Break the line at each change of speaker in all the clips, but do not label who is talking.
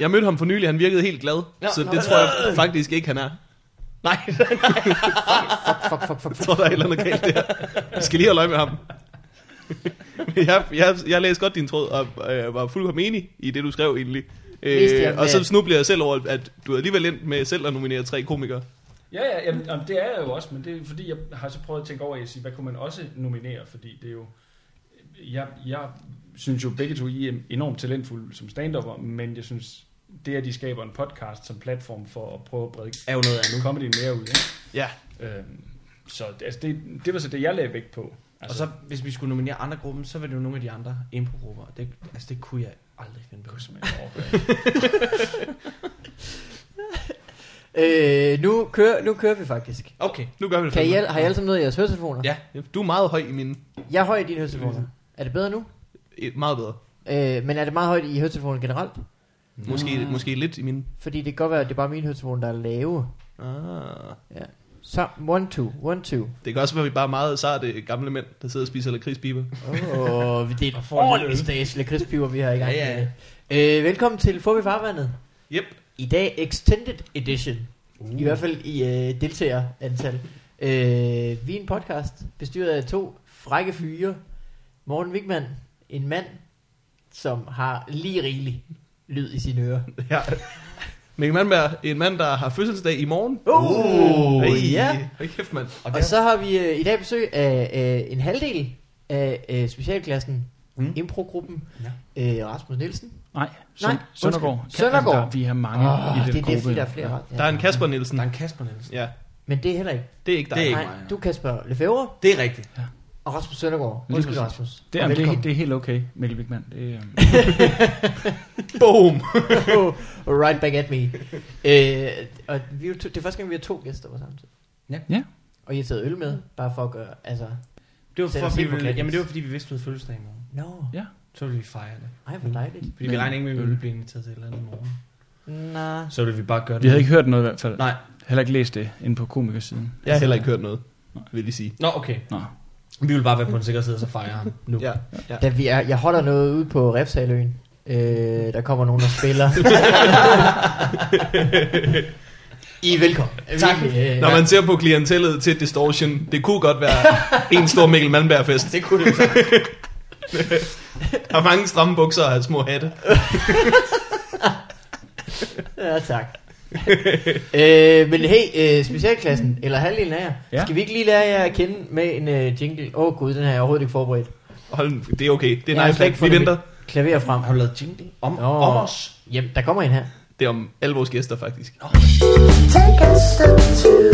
Jeg mødte ham for nylig, han virkede helt glad.
Nå,
så
nå.
det tror jeg faktisk ikke, han er. Nej,
Fuck, fuck, fuck,
jeg
fuck.
tror, der er et eller andet galt der. Vi skal lige holde øje med ham. Men jeg, jeg, jeg læste godt din tråd, og øh, var fuldkommen enig i det, du skrev egentlig.
Mest i
Øh,
alt med-
og så snubler jeg selv over, at du er alligevel endt med selv at nominere tre komikere.
Ja, ja jamen, jamen, det er jeg jo også, men det er fordi, jeg har så prøvet at tænke over, at sige, hvad kunne man også nominere, fordi det er jo... Jeg, jeg synes jo begge to, I er enormt talentfulde som stand men jeg synes, det at de skaber en podcast som platform for at prøve at brede
Er jo noget
Mhm.
andet.
comedy mere ud, ikke?
Ja,
Øhm, så altså, det, det var så det, jeg lagde vægt på. Altså,
Og så, hvis vi skulle nominere andre gruppen, så var det jo nogle af de andre improgrupper. Og Det, altså, det kunne jeg aldrig finde på.
kunne jeg simpelthen overhøre.
Øh, nu, kører, nu kører vi faktisk.
Okay.
nu gør vi det.
Kan I,
fandme.
al- har I alle sammen noget i jeres høretelefoner?
Ja.
Du er meget høj i mine.
Jeg er høj i dine høretelefoner. Er det bedre nu?
Eh, Meget bedre.
Øh, men er det meget højt i høretelefoner generelt?
Måske,
Mm.
måske lidt i mine.
Fordi det kan godt være, at det er bare mine høretelefoner, der er lave.
Ah.
Så, one, two, one, two.
Det kan også være, at vi bare er meget sarte gamle mænd, der sidder og spiser lakridspiber.
Åh, oh, det er
Og
et
får en lille
ordentligt
øl.
stage lakridspiver, vi har i gang
Ja, ja.
med. Øh, velkommen til Forbi Farvandet.
Yep.
I dag Extended Edition. Uh. I hvert fald i øh, deltagerantal. Øh, vi er en podcast bestyret af to frække fyre. Morten Wigman, en mand, som har lige rigeligt lyd i sine ører.
Ja. Mikkel Mandberg, en mand, der har fødselsdag i morgen.
Uh,
Ej,
ja.
Hold kæft, mand.
Og der,
Og så har vi øh, i dag besøg af øh, en halvdel af øh, specialklassen,
Mm.
mm. improgruppen, ja. øh, Rasmus Nielsen.
Nej,
Søn- Nej, undskyld. Søndergaard. Kan- Søndergaard. jamen, der-
vi har mange
Oh, det er det, fordi der er flere ret. Ja.
Der er en Kasper Nielsen.
der er en Kasper Nielsen.
Ja,
Men det er heller ikke.
det er ikke dig.
Det er ikke-
Nej,
mig, ja.
du er Kasper Lefebvre
Det er rigtigt.
og Rasmus Søndergaard.
Lige
Undskyld
præcis.
Rasmus.
Det,
og
er, det, er-
velkommen.
det er helt okay, Mikkel Wigman. Det, er, øhm,
Boom!
right back at me. Øh, og vi er jo to, det er første gang, vi har to gæster på samme tid.
Ja.
Ja.
Og I har taget øl med, bare for at gøre, altså...
Det var,
Sæt
for,
os
vi
ind på
ville,
glatis.
jamen, det var fordi, vi vidste, at du havde fødselsdag i morgen.
No.
Så ville vi fejre det.
Ej, hvor dejligt.
Fordi vi
Men-
regner ikke med, at vi
øl.
ville blive inviteret til et eller andet i morgen.
Nå.
Mm. Så ville vi bare gøre det.
vi havde ikke hørt noget i hvert fald.
Nej.
Heller ikke læst det inde på komikersiden.
Jeg har heller ikke hørt noget, vil jeg sige.
Nå, okay.
Nå.
Vi ville bare være på en sikker side, og så fejre ham nu.
Ja.
Da vi er, jeg holder noget ude på Refsaløen. Øh, der kommer nogen, der spiller. I er velkommen.
Tak.
Virkelig, øh,
Når man ser på klientellet til Distortion, det kunne godt være en stor Mikkel Mandberg-fest.
Det kunne det jo så.
Der er mange stramme bukser og små hatte.
Ja, tak. øh, men hey, øh, specialklassen, eller halvdelen af jer, ja.
Ja.
skal vi ikke lige lære jer at kende med en øh, jingle? Åh oh, gud, den har jeg overhovedet ikke forberedt.
Hold, nu- det er okay. Det
Jeg
er
har
nice.
slet ikke
Vi
fået det
venter.
Klaver frem.
Har du lavet jingle om,
Nå.
om os?
Jamen, der kommer en her.
Det er om alle vores gæster, faktisk.
Take a step two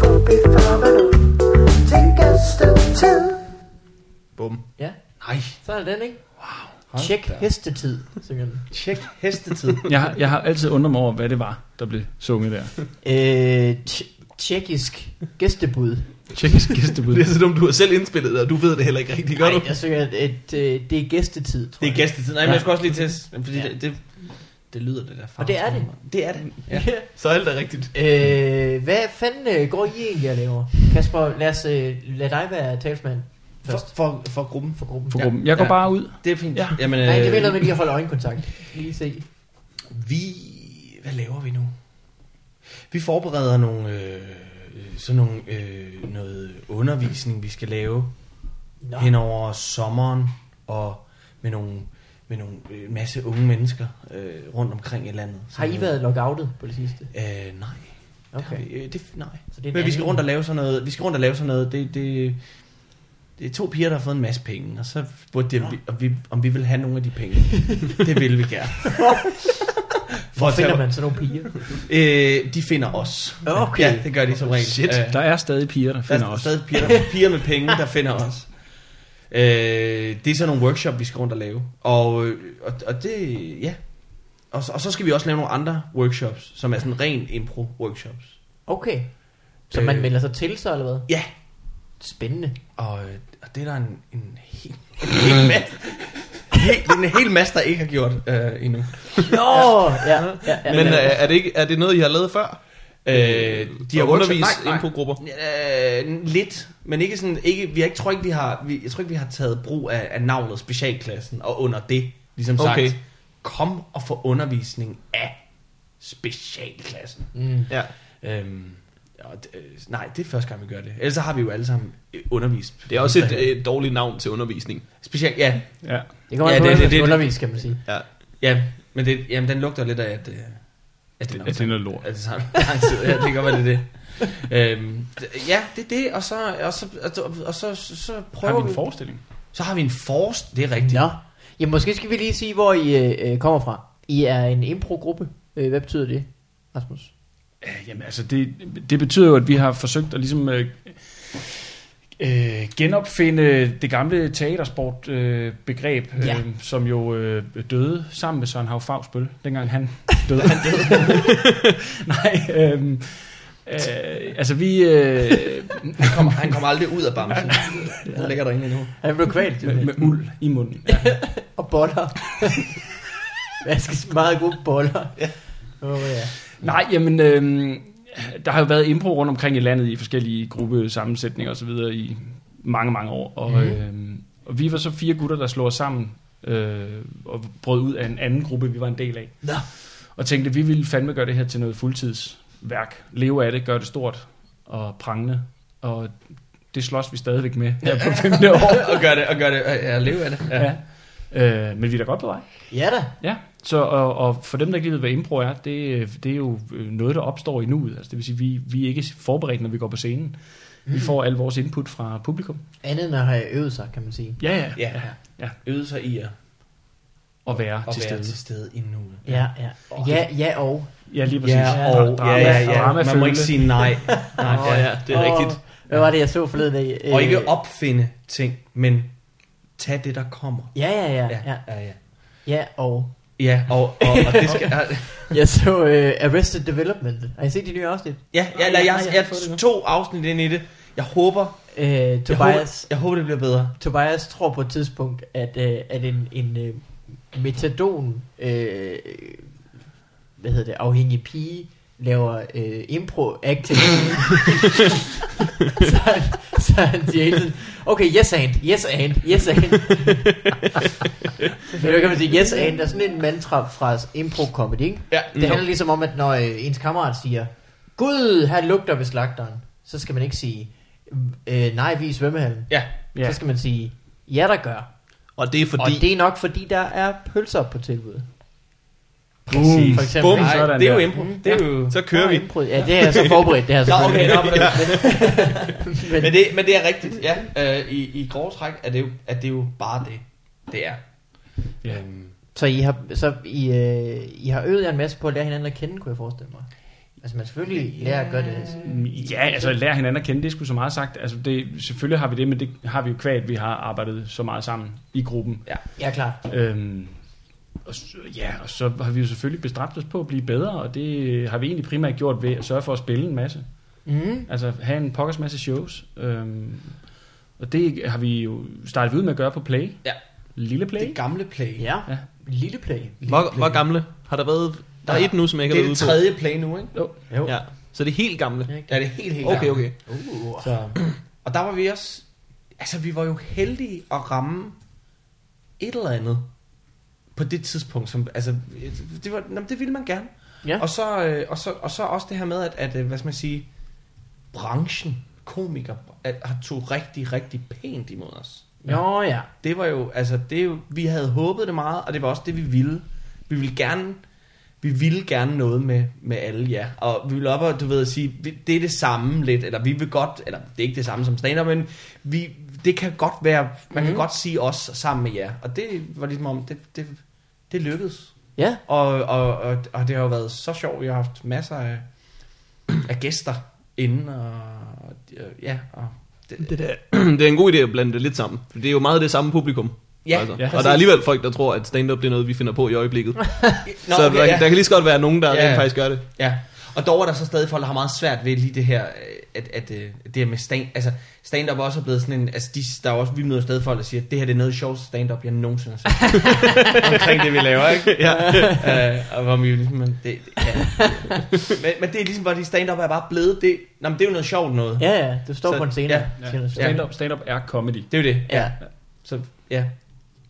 before before Take a step two.
Bum.
Ja,
Nej.
så er den, ikke?
Hold
Tjek
da.
hestetid, synger den.
Tjek hestetid.
Jeg, har- jeg har altid undret mig over, hvad det var, der blev sunget der.
Øh, tj- tjekkisk gæstebud.
Tjekkisk gæstebud.
Det er så dumt, du har selv indspillet det, og du ved det heller ikke rigtigt, gør du?
Nej, jeg synger, at, at øh, det er gæstetid, tror
Det er
jeg.
gæstetid. Nej, men jeg skulle også lige teste. Fordi
Ja.
det, det, det lyder det der far.
Og det er det.
Det er det. Ja.
Så alt er rigtigt.
øh, hvad fanden øh, går I egentlig og laver? Kasper, lad, os, øh, lad dig være talsmand
For,
først
for, for gruppen.
for gruppen.
For gruppen. Jeg går
Ja.
bare ud.
Det er fint.
Ja.
Jamen,
Nej, det
øh,
vil noget med lige at holde øjenkontakt. Lige se.
Vi... Hvad laver vi nu? Vi forbereder nogle... Øh, øh, sådan nogle... Øh, noget undervisning, vi skal lave
Nå.
ja. hen over sommeren. Og med nogle med nogle øh, masse unge mennesker øh, rundt omkring i landet.
Har I været lockoutet på det sidste?
Øh, nej.
Okay.
øh, Det, har vi- øh, det, nej.
Så det er en
Men vi skal
anden-
rundt og lave sådan noget. Vi skal rundt og lave sådan noget. Det, det, det er to piger, der har fået en masse penge, og så spurgte de, om vi, om vi, om vi vil have nogle af de penge. det vil vi gerne. For
Hvor
at
finder
tage,
man sådan nogle piger?
øh, de finder os.
Okay.
Ja, det gør de som regel.
Shit.
Øh,
Der er stadig piger, der finder
der er
os.
stadig piger, der, piger med penge, der finder os. Øh, det er sådan nogle workshop, vi skal rundt og lave. Og, øh, og, og det, ja. Og, så- og så skal vi også lave nogle andre workshops, som er sådan ren impro-workshops.
Okay. Så man
Øh.
melder sig til så, eller hvad?
Ja,
Spændende.
Og, øh, og det er der en, en hel, en hel masse, en hel, det er en hel masse, der ikke har gjort øh, endnu.
Nå! Ja, ja, ja.
Men øh, er, er, det ikke, er det noget, I har lavet før?
Øh, de har
Og undervist
workshop- nej, nej.
improgrupper?
Øh, lidt, men ikke sådan, ikke, vi har ikke, tror ikke, vi har, vi, jeg tror ikke, vi har taget brug af, af navnet specialklassen, og under det, ligesom sagt,
Okay.
kom og få undervisning af specialklassen.
Mm.
Ja.
Øhm, og d- øh, nej, det er første gang, vi gør det. Ellers så har vi jo alle sammen øh, undervist.
Det er også et, øh, et dårligt navn til undervisning.
Specielt, ja,
Ja.
Det kommer ja,
Ja,
på,
det-
det,
det- det-
undervis, kan man sige.
Ja.
ja, men det, jamen, den lugter lidt af, at, øh, at det,
At det er noget lort.
At det tager lang tid. Ja, det kan godt være, det er det. øhm, d- ja, det er det, og så, og så, og så, og så, så, så prøver
Har vi
vi.
en forestilling?
så har vi en forst, det er rigtigt.
Nå. Ja, måske skal vi lige sige, hvor I øh, kommer fra. I er en impro-gruppe. Øh, hvad betyder det, Rasmus?
Ja, Jamen altså, det, det betyder jo, at vi har forsøgt at ligesom øh, øh, genopfinde det gamle teatersportbegreb, øh, begreb,
Ja.
øh, som jo øh, døde sammen med Søren Hav Fagsbøl, dengang han døde. Nej, øh, øh, altså vi... Øh,
Han, kommer, han kommer aldrig ud af bamsen. Han ligger derinde endnu.
Han blev kvalt jo,
med, med uld i munden. Ja.
og boller. Vaskes meget gode boller. Ja. Oh, ja.
Nej, jamen, øh, der har jo været impro rundt omkring i landet i forskellige gruppesammensætninger osv. i mange, mange år. Og,
Mhm.
mm. øh, og vi var så fire gutter, der slog os sammen øh, og brød ud af en anden gruppe, vi var en del af.
Nå.
Og tænkte, vi ville fandme gøre det her til noget fuldtidsværk. Leve af det, gøre det stort og prangende. Og det slås vi stadigvæk med her på femte år.
Og gør det, og gør det, og jeg lever af det. Ja.
Ja. Ja. Øh, men vi er da godt på vej.
ja da.
Ja, så, og, og for dem, der ikke lige ved, hvad impro er, det, det er jo øh, noget, der opstår i nuet. Altså, det vil sige, vi, vi er ikke forberedt, når vi går på scenen. Vi får al vores input fra publikum.
Andet end at have øvet sig, kan man sige.
Ja, ja.
Ja.
Ja.
Øvede sig i at,
Og være
at
til
være
stede.
til stede endnu.
Ja, ja. Ja, ja og.
Ja, lige præcis.
Ja, og ja,
Drama-
ja, ja.
dramafølge.
Man må ikke sige nej. nej
Åh, ja, det er
og,
rigtigt.
Hvad var det, jeg så forleden dag?
Og ikke
Øh,
opfinde ting, men tag det, der kommer.
Ja, ja, ja. Ja,
ja. ja.
ja og.
ja og, og, og det skal...
Jeg så øh, Arrested Development. Har I set de nye afsnit?
Ja, ja,
Nej,
eller jeg,
jeg har
jeg,
ikke fået det nu.
to afsnit ind i det. Jeg håber,
Øh,
jeg håber,
Tobias,
jeg håber, det bliver bedre.
Tobias tror på et tidspunkt, at, øh, at en, en øh, metadon, øh, hvad hedder det, afhængig pige, laver øh, impro acting. så, han, så han siger hele tiden, okay, yes and, yes and, yes and. Men nu kan man sige, yes and er sådan en mantra fra impro comedy, ikke?
Ja,
Det handler ligesom om, at når øh, ens kammerat siger, Gud, her lugter ved slagteren, så skal man ikke sige, øh, nej, vi er i svømmehallen.
Ja,
Ja.
Så skal man sige, ja, der gør.
Og det er
Fordi... Og
fordi...
det er nok, fordi der er pølser på tilbud.
Boom.
For eksempel.
Bum,
Nej,
sådan
sådan
det er jo
der.
impro.
det er jo...
Så kører vi.
Nå, indbrud. Ja, det er jeg så forberedt, det her så
Nå, okay, nå, men,
men,
men, det, men det er rigtigt, ja. Øh, i, I grove træk er det, jo, er det jo bare det, det er.
Ja.
Øhm,
Så, I har, så I, øh, I har øvet jer en masse på at lære hinanden at kende, kunne jeg forestille mig. Altså man selvfølgelig lærer at gøre det.
Ja, altså lære hinanden at kende, det skulle så meget sagt. Altså, det, selvfølgelig har vi det, men det har vi jo kvad, at vi har arbejdet så meget sammen i gruppen.
Ja, klar.
Øhm, og, s- ja, og så har vi jo selvfølgelig bestræbt os på at blive bedere, og det har vi egentlig primært gjort ved at sørge for at spille en masse.
Mm.
Altså have en pokkers masse shows. Øhm, og det har vi jo startet ud med at gøre på Play.
Ja.
Lille Play.
det gamle play.
Ja.
Ja.
Lille play.
Hvor, hvor gamle har der været? Der er et nu, som jeg ikke
Det
har
er det
været ude
tredje play nu, ikke?
Jo.
på. Ja. Så det er helt gamle.
Ja, det er helt, helt
Okay,
gammelt.
okay.
Uh.
Så, og der var vi også... Altså, vi var jo heldige at ramme et eller andet på det tidspunkt. Som, altså, det, var, jamen, det ville man gerne.
Ja.
Og, så, øh, og, så, og så også det her med, at, at øh, hvad skal man sige, branchen, komiker, at, har tog rigtig, rigtig pænt imod os.
Nå ja.
Det var jo, altså, det er jo, vi havde håbet det meget, og det var også det, vi ville. Vi ville gerne, vi ville gerne noget med, med alle jer. Og vi ville op og, du ved, sige, vi- det er det samme lidt, eller vi vil godt, eller det er ikke det samme som stand men vi, det kan godt være, man kan
Mhm.
godt sige os sammen med jer. Og det var ligesom om, det, det, det lykkedes.
Ja.
Og, og, og, og det har jo været så sjovt. Jeg har haft masser af, af gæster inden, og, og ja, og det,
Det, der. det er en god idé at blande det lidt sammen. For det er jo meget det samme publikum.
ja,
altså.
altså.
ja,
og
præcis.
der er alligevel folk, der tror, at stand-up det er noget, vi finder på i øjeblikket.
Nå,
så
okay,
der,
ja.
der kan lige så godt være nogen, der
Ja, ja.
rent faktisk gør det.
Ja, og dog er der så stadig folk, der har meget svært ved lige det her, øh, at, at øh, det her med stand, altså stand-up også er blevet sådan en, altså de, der er jo også, vi møder stadig folk, der siger, det her det er noget af det sjoveste stand-up, jeg nogensinde har set. Omkring det, vi laver, ikke? ja. Øh, og hvor vi jo ligesom, men det, ja. men, men det er ligesom, hvor de stand-up er bare blevet, det, nå, men det er jo noget sjovt noget.
Ja, ja. Du står
Så-
på en scene.
ja,
siger du så.
Stand-up, stand-up er comedy.
Det er jo det.
Ja.
Så, ja.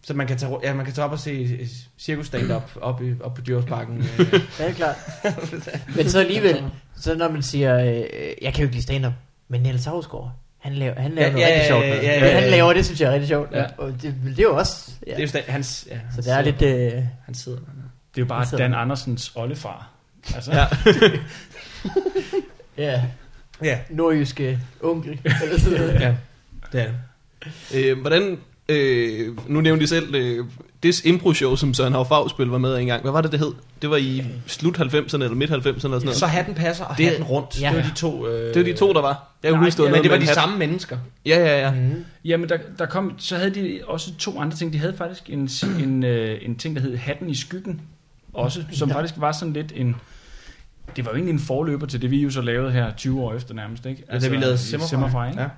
Så man kan tage, ru- ja, man kan tage op og se øh, cirkus stand-up op, i, op på Dyrsparken. Øh,
Ja, det er klart. men så alligevel, så når man siger, øh, jeg kan jo ikke lide stand-up, men Niels Havsgaard, han laver, han laver
Ja,
noget
ja,
rigtig
ja,
sjovt.
ja,
noget.
ja, ja,
Det,
ja.
Han laver, det synes jeg er rigtig sjovt.
Ja.
Og det, men det er jo også... Ja.
Det er jo stand, hans, ja, han
så der er lidt...
sidder-
Øh,
Han sidder der.
Det er jo bare
Altså-
Dan Andersens oldefar. Altså,
Ja.
ja.
ja,
Ja,
nordjyske onkel. Eller sådan noget.
ja. Det er det.
Øh, hvordan, øh, nu nævnte I selv, øh, det impro-show, som Søren Havfagspil var med i engang. Hvad var det, det hed? Det var i slut 90'erne eller midt 90'erne eller sådan noget.
Så hatten passer og
Det-
det, hatten rundt.
ja.
Ja. Det var de to. Øh,
det var de to, der var. Jeg kan
Nej,
huske, det var
ja,
Men
noget
det var
med
de
en hat.
samme mennesker.
Ja, ja, ja.
Mm.
Jamen, der, der kom, så havde de også to andre ting. De havde faktisk en, en, øh, en ting, der hed Hatten i skyggen, også, som
Ja.
ja. faktisk var sådan lidt en... Det var jo egentlig en forløber til det, vi jo så lavede her 20 år efter nærmest, ikke?
Altså, da vi lavede
i
Simmerfra.
Simmerfra, ikke?
Ja.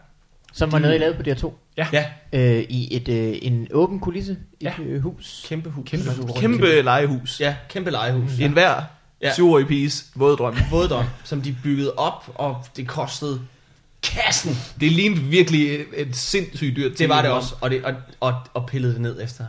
Som var noget, I lavede på DR2.
ja,
Øh, I et, øh, en åben kulisse. Et
Ja.
øh, hus.
kæmpe hus.
Kæmpe hus.
Kæmpe Mm. legehus.
Ja, kæmpe legehus.
En hver
Ja.
syvårig piges våde drøm.
våddom, som de byggede op, og det kostede kassen.
Det lignede virkelig et, et sindssygt dyrt
Det var det
tv-program.
også, og, det, og, og, og pillede det ned efter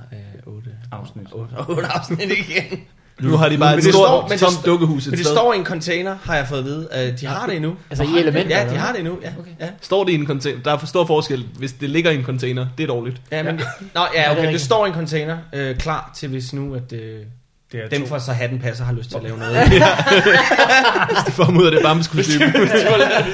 øh, 8
Afsnit.
8, 8 afsnit igen.
Nu har de bare
Men
et
det står-
stort,
men det
tomt
st-
dukkehus
Men
et
det
sted.
står i en container, har jeg fået at vide. Øh, de har det endnu.
Altså i elementer.
Ja,
eller
de har
hvad?
det endnu. Ja, okay. ja.
Står det i en container? Der er for stor forskel. Hvis det ligger i en container, det er dårligt.
ja, men, Nå, ja, okay, det
rigtigt.
står i en container, øh, klar til hvis nu, at øh,
Det er
dem
to-
fra så hatten passer har lyst til at lave noget.
Hvis de får ud af det bamsekostyme.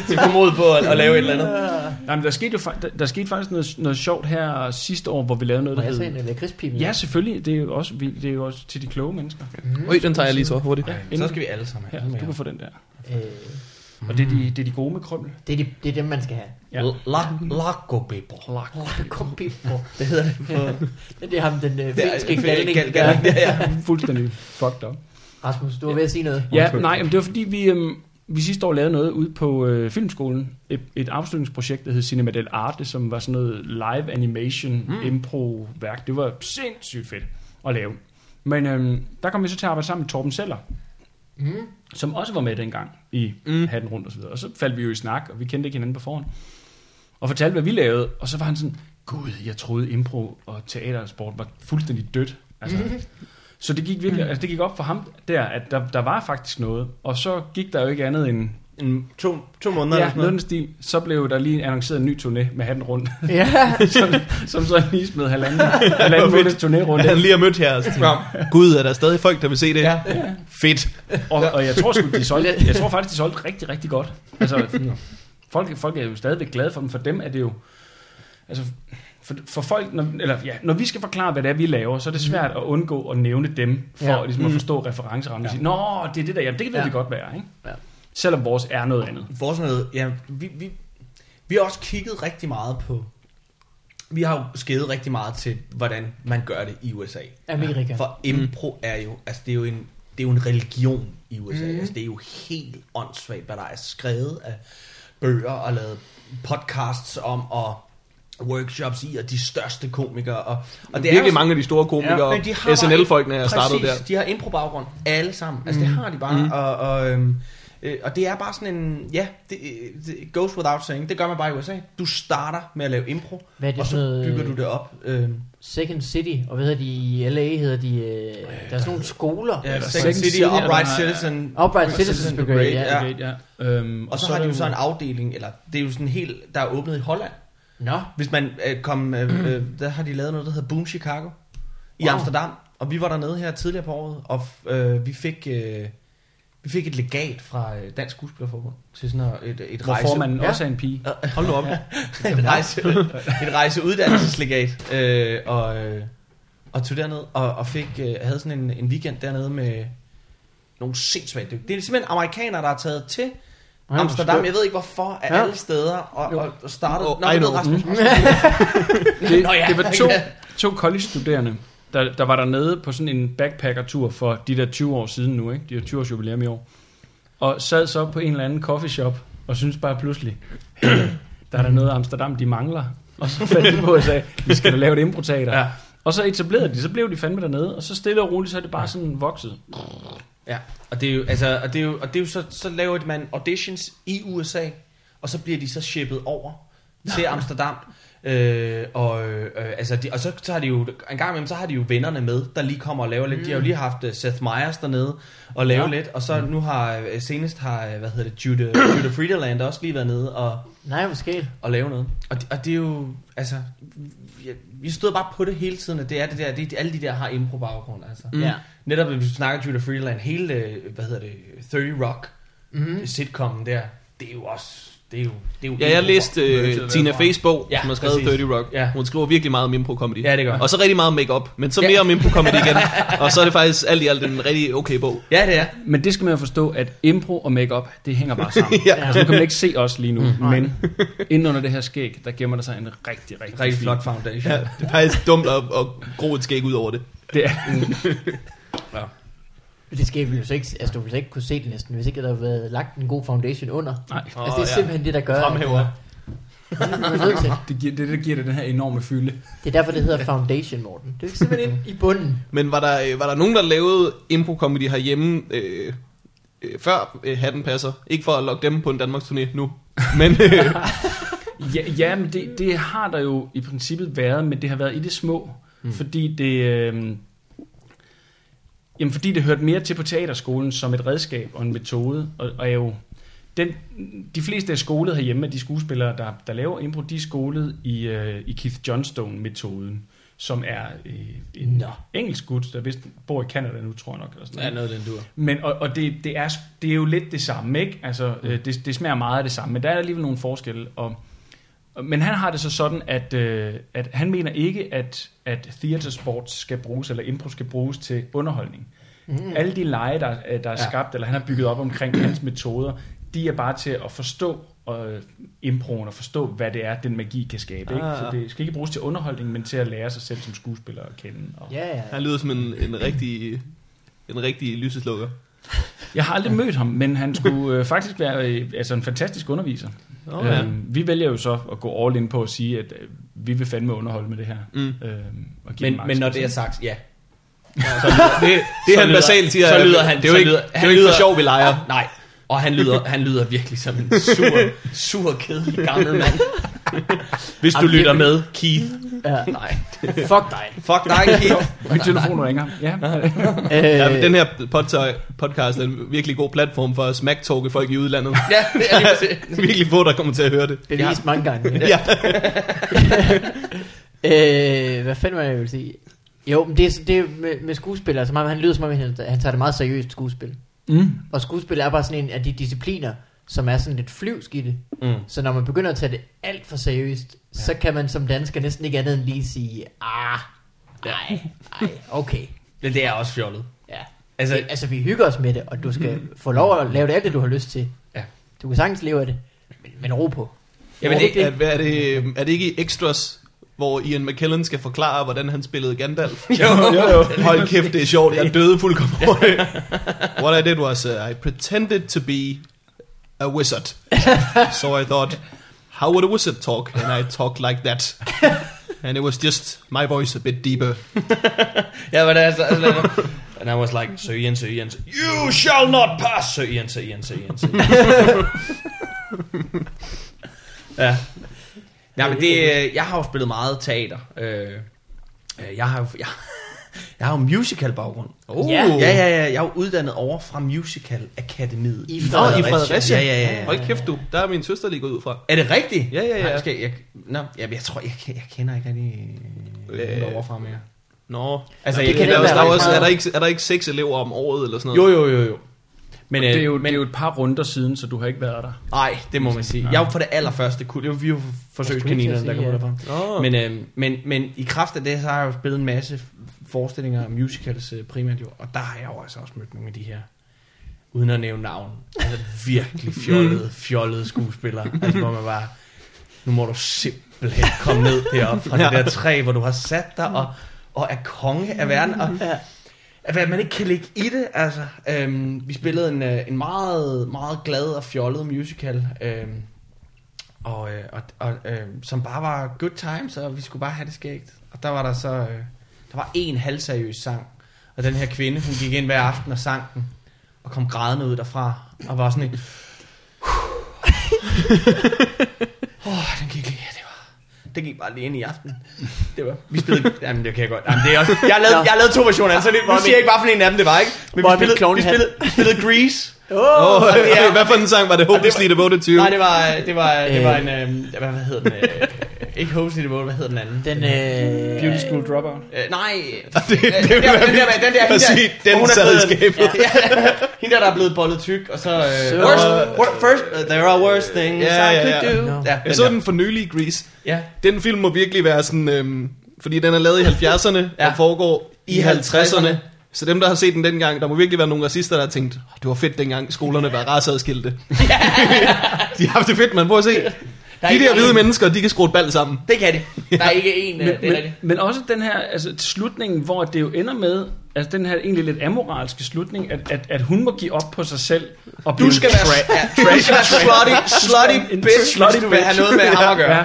de får mod på at, at lave et eller andet.
Nej, men der skete jo fa- der, der skete faktisk noget, noget sjovt her sidste år, hvor vi lavede noget,
Må
der
jeg se
hed...
en øh, lakridspibel?
Ja, selvfølgelig. Det er jo også, vi, det er jo også til de kloge mennesker.
Øj, den tager jeg lige så hurtigt.
Ja,
Så skal vi alle sammen have.
Her, du
Ja.
kan få den der.
Øh,
Og det er de, det er de gode med krømmel.
det, er de, det er dem, man skal have.
Ja.
Lakobibo.
Kom, Pippo.
Det hedder det på...
Det er ham, den øh, finske galning.
Gal-
der-
galning, ja, ja.
Fuldstændig fucked up.
Rasmus, du var ved at sige noget.
Ja, nej, men det var fordi, vi, øhm, vi sidste år lavede noget ude på øh, Filmskolen. Et, et afslutningsprojekt, der hed Cinema del Arte, som var sådan noget live animation, mm. impro-værk. Det var sindssygt fedt at lave. Men øhm, der kom vi så til at arbejde sammen med Torben Seller,
Mm.
som også var med dengang i mm. Hatten Rundt og så videre. Og så faldt vi jo i snak, og vi kendte ikke hinanden på forhånd. Og fortalte, hvad vi lavede, og så var han sådan, gud, jeg troede impro og teater og sport var fuldstændig dødt. Altså, så det gik, virkelig, altså, det gik op for ham der, at der, der var faktisk noget. Og så gik der jo ikke andet end
En, to, to måneder
ja,
eller
noget i
sådan noget.
den stil. Så blev der lige annonceret en ny turné med Hatten Rundt,
Ja,
som, som så lige smed halvanden, halvanden måneds turné rundt.
Han lige har mødt her. og så tænker jeg, Gud, er der stadig folk, der vil se det?
Ja.
Fedt.
Og, og jeg tror sgu, de solgte, jeg tror faktisk, de solgte rigtig, rigtig godt. Altså, folk, folk er jo stadigvæk glade for dem. For dem er det jo... Altså, for, for folk, når, eller, ja, når vi skal forklare, hvad det er, vi laver, så er det svært at undgå at nævne dem, for
Ja.
ja. ligesom at forstå referencerammen. Ja. Sige, Nå, det er det der, jamen, det kan
Ja.
ja. det godt være, ikke?
Ja.
Selvom vores er noget andet.
Vores noget, ja, vi, vi, vi har også kigget rigtig meget på... Vi har jo skædet rigtig meget til, hvordan man gør det i USA.
Amerika.
For impro er jo, altså det er jo en, det er jo en religion i USA. Mm. Altså det er jo helt åndssvagt, hvad der er skrevet af bøger og lavet podcasts om, og workshops i, og de største komikere. Og, og det er
Virkelig
jo-
mange af de store komikere
men de har
og
bare-
SNL-folkene er startet der.
Præcis, de har impro-baggrund. Alle sammen. Altså, det har de bare. Mm. Og, og, øhm, øh, og det er bare sådan en... Ja, det, øh, det goes without saying. Det gør man bare i USA. Du starter med at lave impro,
Hvad er det
og så
for noget-
bygger du det op. Øhm,
Second City, og hvad hedder de i LA, hedder de, øh, der er sådan nogle skoler.
ja,
der
Second
Second
City,
City, og der
Upright
er-
Citizen...
Upright Citizens Brigade, ja.
ja.
Okay, ja. Øhm,
Og så, har
er
de jo
det
så en afdeling, eller det er jo sådan helt, der er åbnet i Holland.
Nå,
Hvis man øh, kom,
Mm.
øh, øh, der har de lavet noget, der hedder Boom Chicago i
Wow.
Amsterdam. Og vi var dernede her tidligere på året, og f- øh, vi fik... Øh, vi fik et legat fra øh, Dansk Skuespillerforbund til sådan noget- et, et
hvor
rejse...
formanden
Ja.
ja. også er en pige.
Hold nu op. Ja.
et, rejse, et rejseuddannelseslegat. Øh, og, øh, og tog derned og, og fik, øh, havde sådan en, en weekend dernede med nogle sindssygt dygtige. Det er simpelthen amerikanere, der har taget til
hvor
Amsterdam.
skønt.
Jeg ved ikke hvorfor, af
Ja.
ja. alle steder. Og, og, og startede...
Jo,
Nå,
I
jeg ved,
know.
Rasmus,
Det,
Nå ja.
det var to, to college-studerende, der, der var dernede på sådan en backpacker-tur for de der 20 år siden nu, ikke? De har 20 års jubilæum i år. Og sad så på en eller anden coffeeshop og synes bare pludselig, hey, der er der noget Amsterdam, de mangler. Og så fandt de på og sagde, vi skal da lave et improteater. Ja. Og så etablerede de, så blev de fandme dernede, og så stille og roligt, så er det bare sådan vokset.
Ja, og det er jo, altså, og det er jo, og det er jo så, så laver man auditions i USA, og så bliver de så shippet over til Amsterdam. Øh, og, øh, øh, altså de, og så, så har de jo en gang imellem, så har de jo vennerne med, der lige kommer og laver lidt. Mm. De har jo lige haft øh, Seth Meyers dernede og lave ja.
Ja.
lidt, og så nu har øh, senest har, øh, hvad hedder det, Jude, Jude Friederland også lige været nede og,
Nej, måske.
at lave noget. Og det, og det er jo, altså, vi, vi stod bare på det hele tiden, at det er det der, det, er- alle de der har impro-baggrund, altså.
Mm.
Ja.
Netop, hvis du snakker Judah Freeland, hele, øh, hvad hedder det, 30 Rock,
Mm-hmm.
sitcomen der, det er jo også, det er jo, det er jo
Ja, jeg
impro.
læste øh, Tina Feys bog,
Ja,
ja, som har skrevet
præcis.
30 Rock.
Ja.
Ja. Hun skriver virkelig meget om impro-comedy.
Ja, det gør.
Og så rigtig meget om make-up, men så
Ja.
mere om impro-comedy igen. Og så er det faktisk alt i alt en rigtig okay bog.
Ja, det er.
Men det skal man jo forstå, at impro og makeup det hænger bare sammen.
Ja.
Altså, nu kan man ikke se os lige nu,
Mm-hmm.
mm. men inden under det her skæg, der gemmer der sig en rigtig, rigtig,
Rigtig
fin-
flot foundation.
Ja,
Ja.
det er faktisk dumt at, at gro et skæg ud over det.
Det er,
Det skal vi jo så ikke, altså du ville ikke kunne se det næsten, hvis ikke der havde været lagt en god foundation under.
nej,
altså
Åh,
det er
ja.
simpelthen det, der gør. at- Mm,
Fremhæver.
Man er nødt til.
Det giver, det, det giver det den her enorme fylde.
Det er derfor, det hedder foundation, Morten. Det er jo simpelthen ind i bunden.
Men var der, øh, var der nogen, der lavede impro-comedy herhjemme øh, øh, før øh, hatten passer? Ikke for at lokke dem på en Danmarks turné nu. Men øh,
Ja, ja men det, det har der jo i princippet været, men det har været i det små, mm. fordi det... Øh, jamen, fordi det hørte mere til på teaterskolen som et redskab og en metode, og, og er jo... Den, de fleste er skolet herhjemme af de skuespillere, der, der laver impro, de er skolet i, øh, i Keith Johnstone-metoden, som er øh, en
Nå.
engelsk gut, der vist bor i Canada nu, tror jeg nok. Eller sådan
ja, noget af den dur.
men, og, og det, det, er, det er jo lidt det samme, ikke? Altså, øh, det, det smager meget af det samme, men der er alligevel nogle forskelle. Og, og- men han har det så sådan, at, øh, at han mener ikke, at, at theatersport skal bruges, eller impro skal bruges til underholdning. Mm. Alle de lege, der, øh, der er
Ja.
ja. skabt, eller han har bygget op omkring hans metoder, de er bare til at forstå øh, improen, og forstå, hvad det er, den magi kan skabe. Ikke?
Ah.
Så det skal ikke bruges til underholdning, men til at lære sig selv som skuespiller at kende. Og,
Ja, ja.
han lyder som en, en rigtig... En rigtig lyseslukker.
Jeg har aldrig mødt ham, men han skulle øh, faktisk være øh, altså en fantastisk underviser.
Oh, ja.
øh, vi vælger jo så at gå all in på at sige, at øh, vi vil fandme underholde med det her.
Mm.
Øh, og give
Men,
den
men når det er
maks.
sagt, ja.
Det, det
Så
han
lyder-
basalt siger,
så
er,
lyder han-
det er jo
så
ikke,
lyder-
det er
han
jo ikke for
lyder-
sjov, vi leger.
Ah, nej. Og han lyder, han lyder virkelig som en sur, sur, kedelig gammel mand. Hvis du
Jamen, det-
lytter med, Keith.
ja.
Nej.
Fuck dig.
Fuck dig, Keith.
Min telefon ringer. Ja.
Øh,
Ja, men den her podta- podcast er en virkelig god platform for at smack-talke folk i udlandet.
Ja, det er lige præcis.
virkelig få, der kommer til at høre det.
Bevist mange gange.
Ja.
øh, hvad fanden var det, jeg ville sige? Jo, men det er, så- det er med, med skuespillere, som om han lyder som om, han, han tager det meget seriøst skuespil.
Mm.
Og skuespil er bare sådan en af de discipliner, som er sådan lidt flyvsk i det.
Mm.
Så når man begynder at tage det alt for seriøst, ja. så kan man som dansker næsten ikke andet end lige sige, ah, nej, nej, okay.
Men det er også fjollet.
Ja.
Altså,
Altså, altså, vi hygger os med det, og du skal få lov at lave det alt det, du har lyst til.
Ja.
Du kan sagtens leve af det, men, men ro på.
Jamen,
Jamen,
det,
det-
er, hvad er, det, er det ikke i Extras, hvor Ian McKellen skal forklare, hvordan han spillede Gandalf?
jo, jo, jo.
Hold kæft, det er sjovt. Jeg døde fuldkommen over det. What I did was, uh, I pretended to be a wizard. So I thought, how would a wizard talk? And I talked like that. And it was just my voice a bit deeper.
Ja, men altså, altså, and I was like, Sir Ian, Sir Ian, Sir- you shall not pass, Sir Ian, Sir Ian, Sir Ian, Sir Ian." ja. Ja, men det, øh, jeg har jo spillet meget teater. Øh, øh, jeg har jo, jeg, jeg har jo musical baggrund.
Oh.
Ja.
Ja, ja, ja, jeg er jo uddannet over fra Musical Akademiet.
I
Nå, i Fredericia.
Ja, ja, ja. ja.
Hold kæft, du. Der er min søster lige gået ud fra.
Er det rigtigt?
Ja, ja, ja.
Nej, nu skal jeg, jeg, nå, jeg, jeg tror, jeg, jeg kender ikke rigtig øh,
Øh,
over fra mere.
Nå.
Altså,
det
jeg-
Der,
kan
er
være
også, der, er
rigtig
også, er,
meget.
der ikke, er der ikke seks elever om året eller sådan noget?
Jo, jo, jo, jo.
Men, det, er jo,
øh,
men, det er jo et par runder siden, så du har ikke været der.
Nej, det må man sige. Jeg var på det allerførste kul. Det var vi var
Jeg
forsøgskaninerne,
skulle
der
lige
kom
til
ud
at
derfra.
Nå.
Men, øh, men, men i kraft af det, så har jeg jo spillet en masse forestillinger og musicals øh, primært jo. Og der har jeg jo altså også mødt nogle af de her, uden at nævne navn, altså virkelig fjollede, fjollede skuespillere. Altså hvor man bare, nu må du simpelthen komme ned deroppe fra ja. det der træ, hvor du har sat dig og, og er konge af verden. Og,
Ja.
at hvad man ikke kan ligge i det, altså. Øhm, vi spillede en, øh, en meget, meget glad og fjollet musical, øhm, og, øh, og, og øh, som bare var good times, og vi skulle bare have det skægt. Og der var der så, øh, der var en halvseriøs sang, og den her kvinde, hun gik ind hver aften og sang den, og kom grædende ud derfra, og var sådan en... Åh, oh, den gik lige, ja, det var... det gik bare lige ind i aften. Det var, vi spillede, jamen det kan jeg godt. Jamen, det er også, jeg, har lavet, jeg har lavet to versioner, af den, så det, nu siger jeg ikke, hvad for en af dem det var, ikke? Men vi
Hvor er min
spillede, vi
klovnehat?
spillede, vi spillede Grease.
Åh,
og det er-
hvad for en sang var det? Hopelessly Devoted to You?
Nej, det var, det var, det var
Øh.
en, øh, hvad hvad hed den? Øh, ikke Hopelessly Devoted, hvad hed den anden?
Den, øh,
Beauty School Dropout.
Øh, nej,
det-
Øh,
det
den, der,
var
den, der, med- den der, hende
Præcis,
der,
den
hvor hun er
sad i
blevet-
skabet.
Ja, hende der, der er blevet bollet tyk, og så... Øh,
Så-
worst, what, first, uh, there are worse things
Ja,
I
ja,
could
ja.
do.
Nå.
Ja,
Jeg
den
så
der.
den for nylig i Grease.
Ja.
Den film må virkelig være sådan, øhm, fordi den er lavet i 70'erne ja.
Ja.
og foregår i
I
50'erne.
50'erne.
Så dem, der har set den dengang, der må virkelig være nogle racister, der har tænkt, "Åh, det var fedt dengang, skolerne var raceadskilte. de har haft det fedt, man. Prøv at se.
er
de
ikke
der hvide
nogen-
mennesker, de kan skrue et bal sammen.
Det kan det. Der er ikke en,
Men,
øh, det er
men,
rigtigt.
men også den her, altså slutningen, hvor det jo ender med, altså den her egentlig lidt amoralske slutning, at, at, at hun må give op på sig selv, og blive
Du
en
skal være
tra-
ja, du skal være slutty, slutty
En
bitch,
slutty
hvis du vil
bitch.
have noget med ham at gøre.
Ja,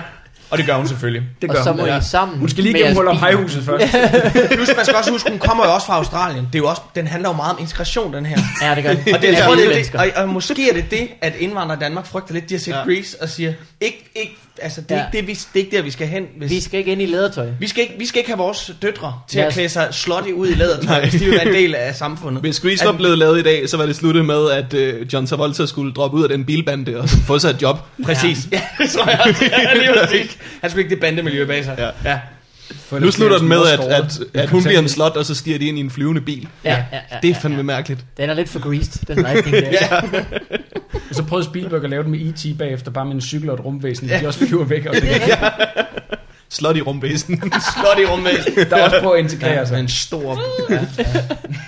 Og det gør hun selvfølgelig.
det
og
gør
så
hun.
må I sammen
Hun skal lige
med
gennem
jeres
huller
bil.
højhuset først.
Plus, man skal også huske, hun kommer jo også fra Australien. Det er jo også, den handler jo meget om integration, den her.
Ja, det gør
Og, det,
er
jeg tror,
hvide
det, er det,
mennesker.
og, og måske er det det, at indvandrere i Danmark frygter lidt. De har set
Ja.
ja. Grease og siger, ikke, ikke, altså, det, er
Ja.
ikke det, vi, det er ikke der, vi skal hen. Hvis,
Vi skal ikke ind i lædertøj.
vi, skal ikke, vi skal ikke have vores døtre til
Lad
at
os-
klæde sig slotty ud i lædertøj,
Nej.
hvis de vil være en del af samfundet.
Hvis Grease var blevet lavet i dag, så var det sluttet med, at øh, John Travolta skulle droppe ud af den bilbande og så få sig et job.
Præcis. Ja, det tror jeg også. Ja, lige præcis. Han skulle ikke det bandemiljø bag sig.
Ja.
ja.
Nu slutter den med, at, at, at hun bliver en slot, og så stiger de ind i en flyvende bil.
Ja, ja, ja,
Det er
ja,
fandme
ja.
mærkeligt.
Den er lidt for greased, den lightning der. ja.
Og så prøvede Spielberg at lave den med E.T. bagefter, bare med en cykel og et rumvæsen, ja. de også flyver væk. Og sådan.
Slot i rumvæsen.
Slotty rumvæsen.
der er også prøver at integrere
Ja,
sig.
med Altså, en stor...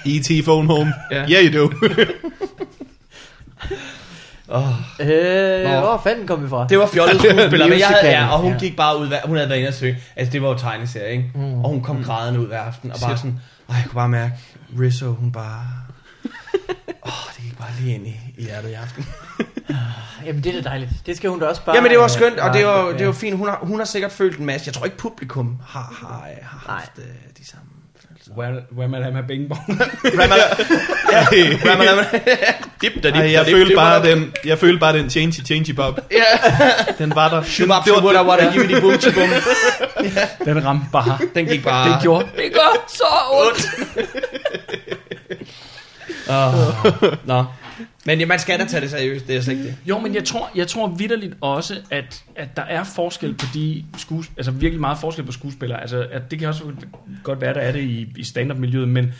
E.T. E phone home.
Ja.
Yeah, you do.
Oh.
Øh,
Nå.
hvor fanden kom vi fra?
Det var fjollet skuespiller, men jeg havde, ja, og hun
Ja.
ja. gik bare ud, hver- hun havde været inde og søge. Altså, det var jo tegneserie, ikke? Mm. Og hun kom grædende ud hver aften, og bare
Shit.
sådan, ej, jeg kunne bare mærke, Rizzo, hun bare... Åh, oh, det gik bare lige ind i, i hjertet i aften.
Jamen, det er da dejligt. Det skal hun da også bare...
Jamen, det var skønt, og det var,
Ja.
det var fint. Hun har, hun har sikkert følt en masse. Jeg tror ikke, publikum har, har, øh, har haft øh, de samme følelser.
Where, where man have bing bong.
Hvad man, hvad man, dip, da, dip,
Ej, jeg,
da, dip,
følte
dip,
bare
da, dip.
den, jeg følte bare den changey changey bob.
Ja.
Den var der.
Shoot up, shoot what I want, give me the boom, boom.
Den ramte bare. Ah.
Den gik bare...
Det gjorde. Det gør så ondt.
Oh. Nå. Men ja, man skal da tage det seriøst, det er slet ikke det.
Jo, men jeg tror, jeg tror vidderligt også, at, at der er forskel på de skues, altså virkelig meget forskel på skuespillere. Altså, at det kan også godt være, der er det i, i stand-up-miljøet, men,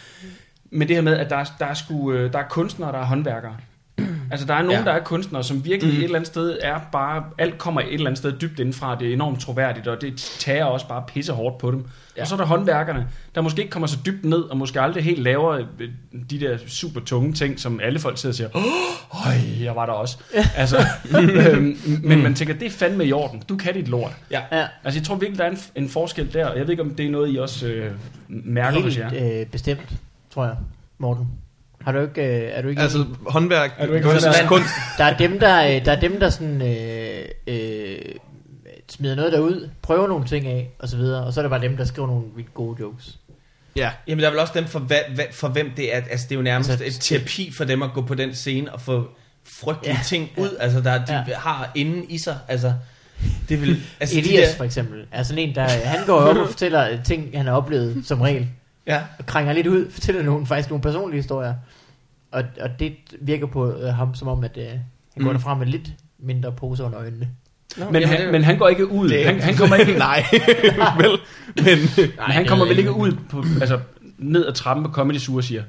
men det her med, at der, er- der, er sku, øh, der er kunstnere, der er håndværkere. Altså, der er nogen, ja.
Ja.
der er kunstnere, som virkelig mm. et eller andet sted er bare... Alt kommer et eller andet sted dybt indenfra. Det er enormt troværdigt, og det tager også bare pisse hårdt på dem. Ja. Og så er der håndværkerne, der måske ikke kommer så dybt ned, og måske aldrig helt laver øh, de der super tunge ting, som alle folk sidder og siger, Åh, øj, jeg var der også. altså, øhm, men man tænker, det er fandme i orden. Du kan dit lort.
Ja,
Altså, jeg tror virkelig, der er en, en forskel der, og jeg ved ikke, om det er noget, I også øh, mærker hos jer.
helt øh, bestemt, tror jeg, Morten. Har du ikke, øh, er du ikke
Altså, håndværk.
Er du ikke
Altså,
versus
håndværker?
kunst.
Der er dem, der, øh, der, er dem, der sådan, øh, øh, smider noget derud, prøver nogle ting af, og så videre. Og så er der bare dem, der skriver nogle vildt gode jokes.
Ja.
Jamen, der er vel også dem, for, hvad, hvad, for hvem det er. Altså, det er jo nærmest
Altså,
altså, et terapi for dem at gå på den scene og få frygtelige
Ja,
ja, ting ud, altså, der, de
Ja.
ja. har inden i sig. Altså, det vil... Altså,
Elias
De
for eksempel er sådan en, der han går op og fortæller øh, ting, han har oplevet som regel.
der, ja.
Og krænger lidt ud, fortæller nogle, faktisk nogle personlige historier. Og, og det virker på øh, ham som om, at øh, han går
Mm.
derfra med lidt mindre poser under øjnene.
Nå,
Men,
jamen, det
han,
er-
men han går ikke ud.
Det-
Han, han kommer ikke
Nej, vel. Men
Nej, men han
det
kommer
ved
vel
jeg
ikke
ikke.
ud på, altså, ned ad trappen på Comedy Sur og siger,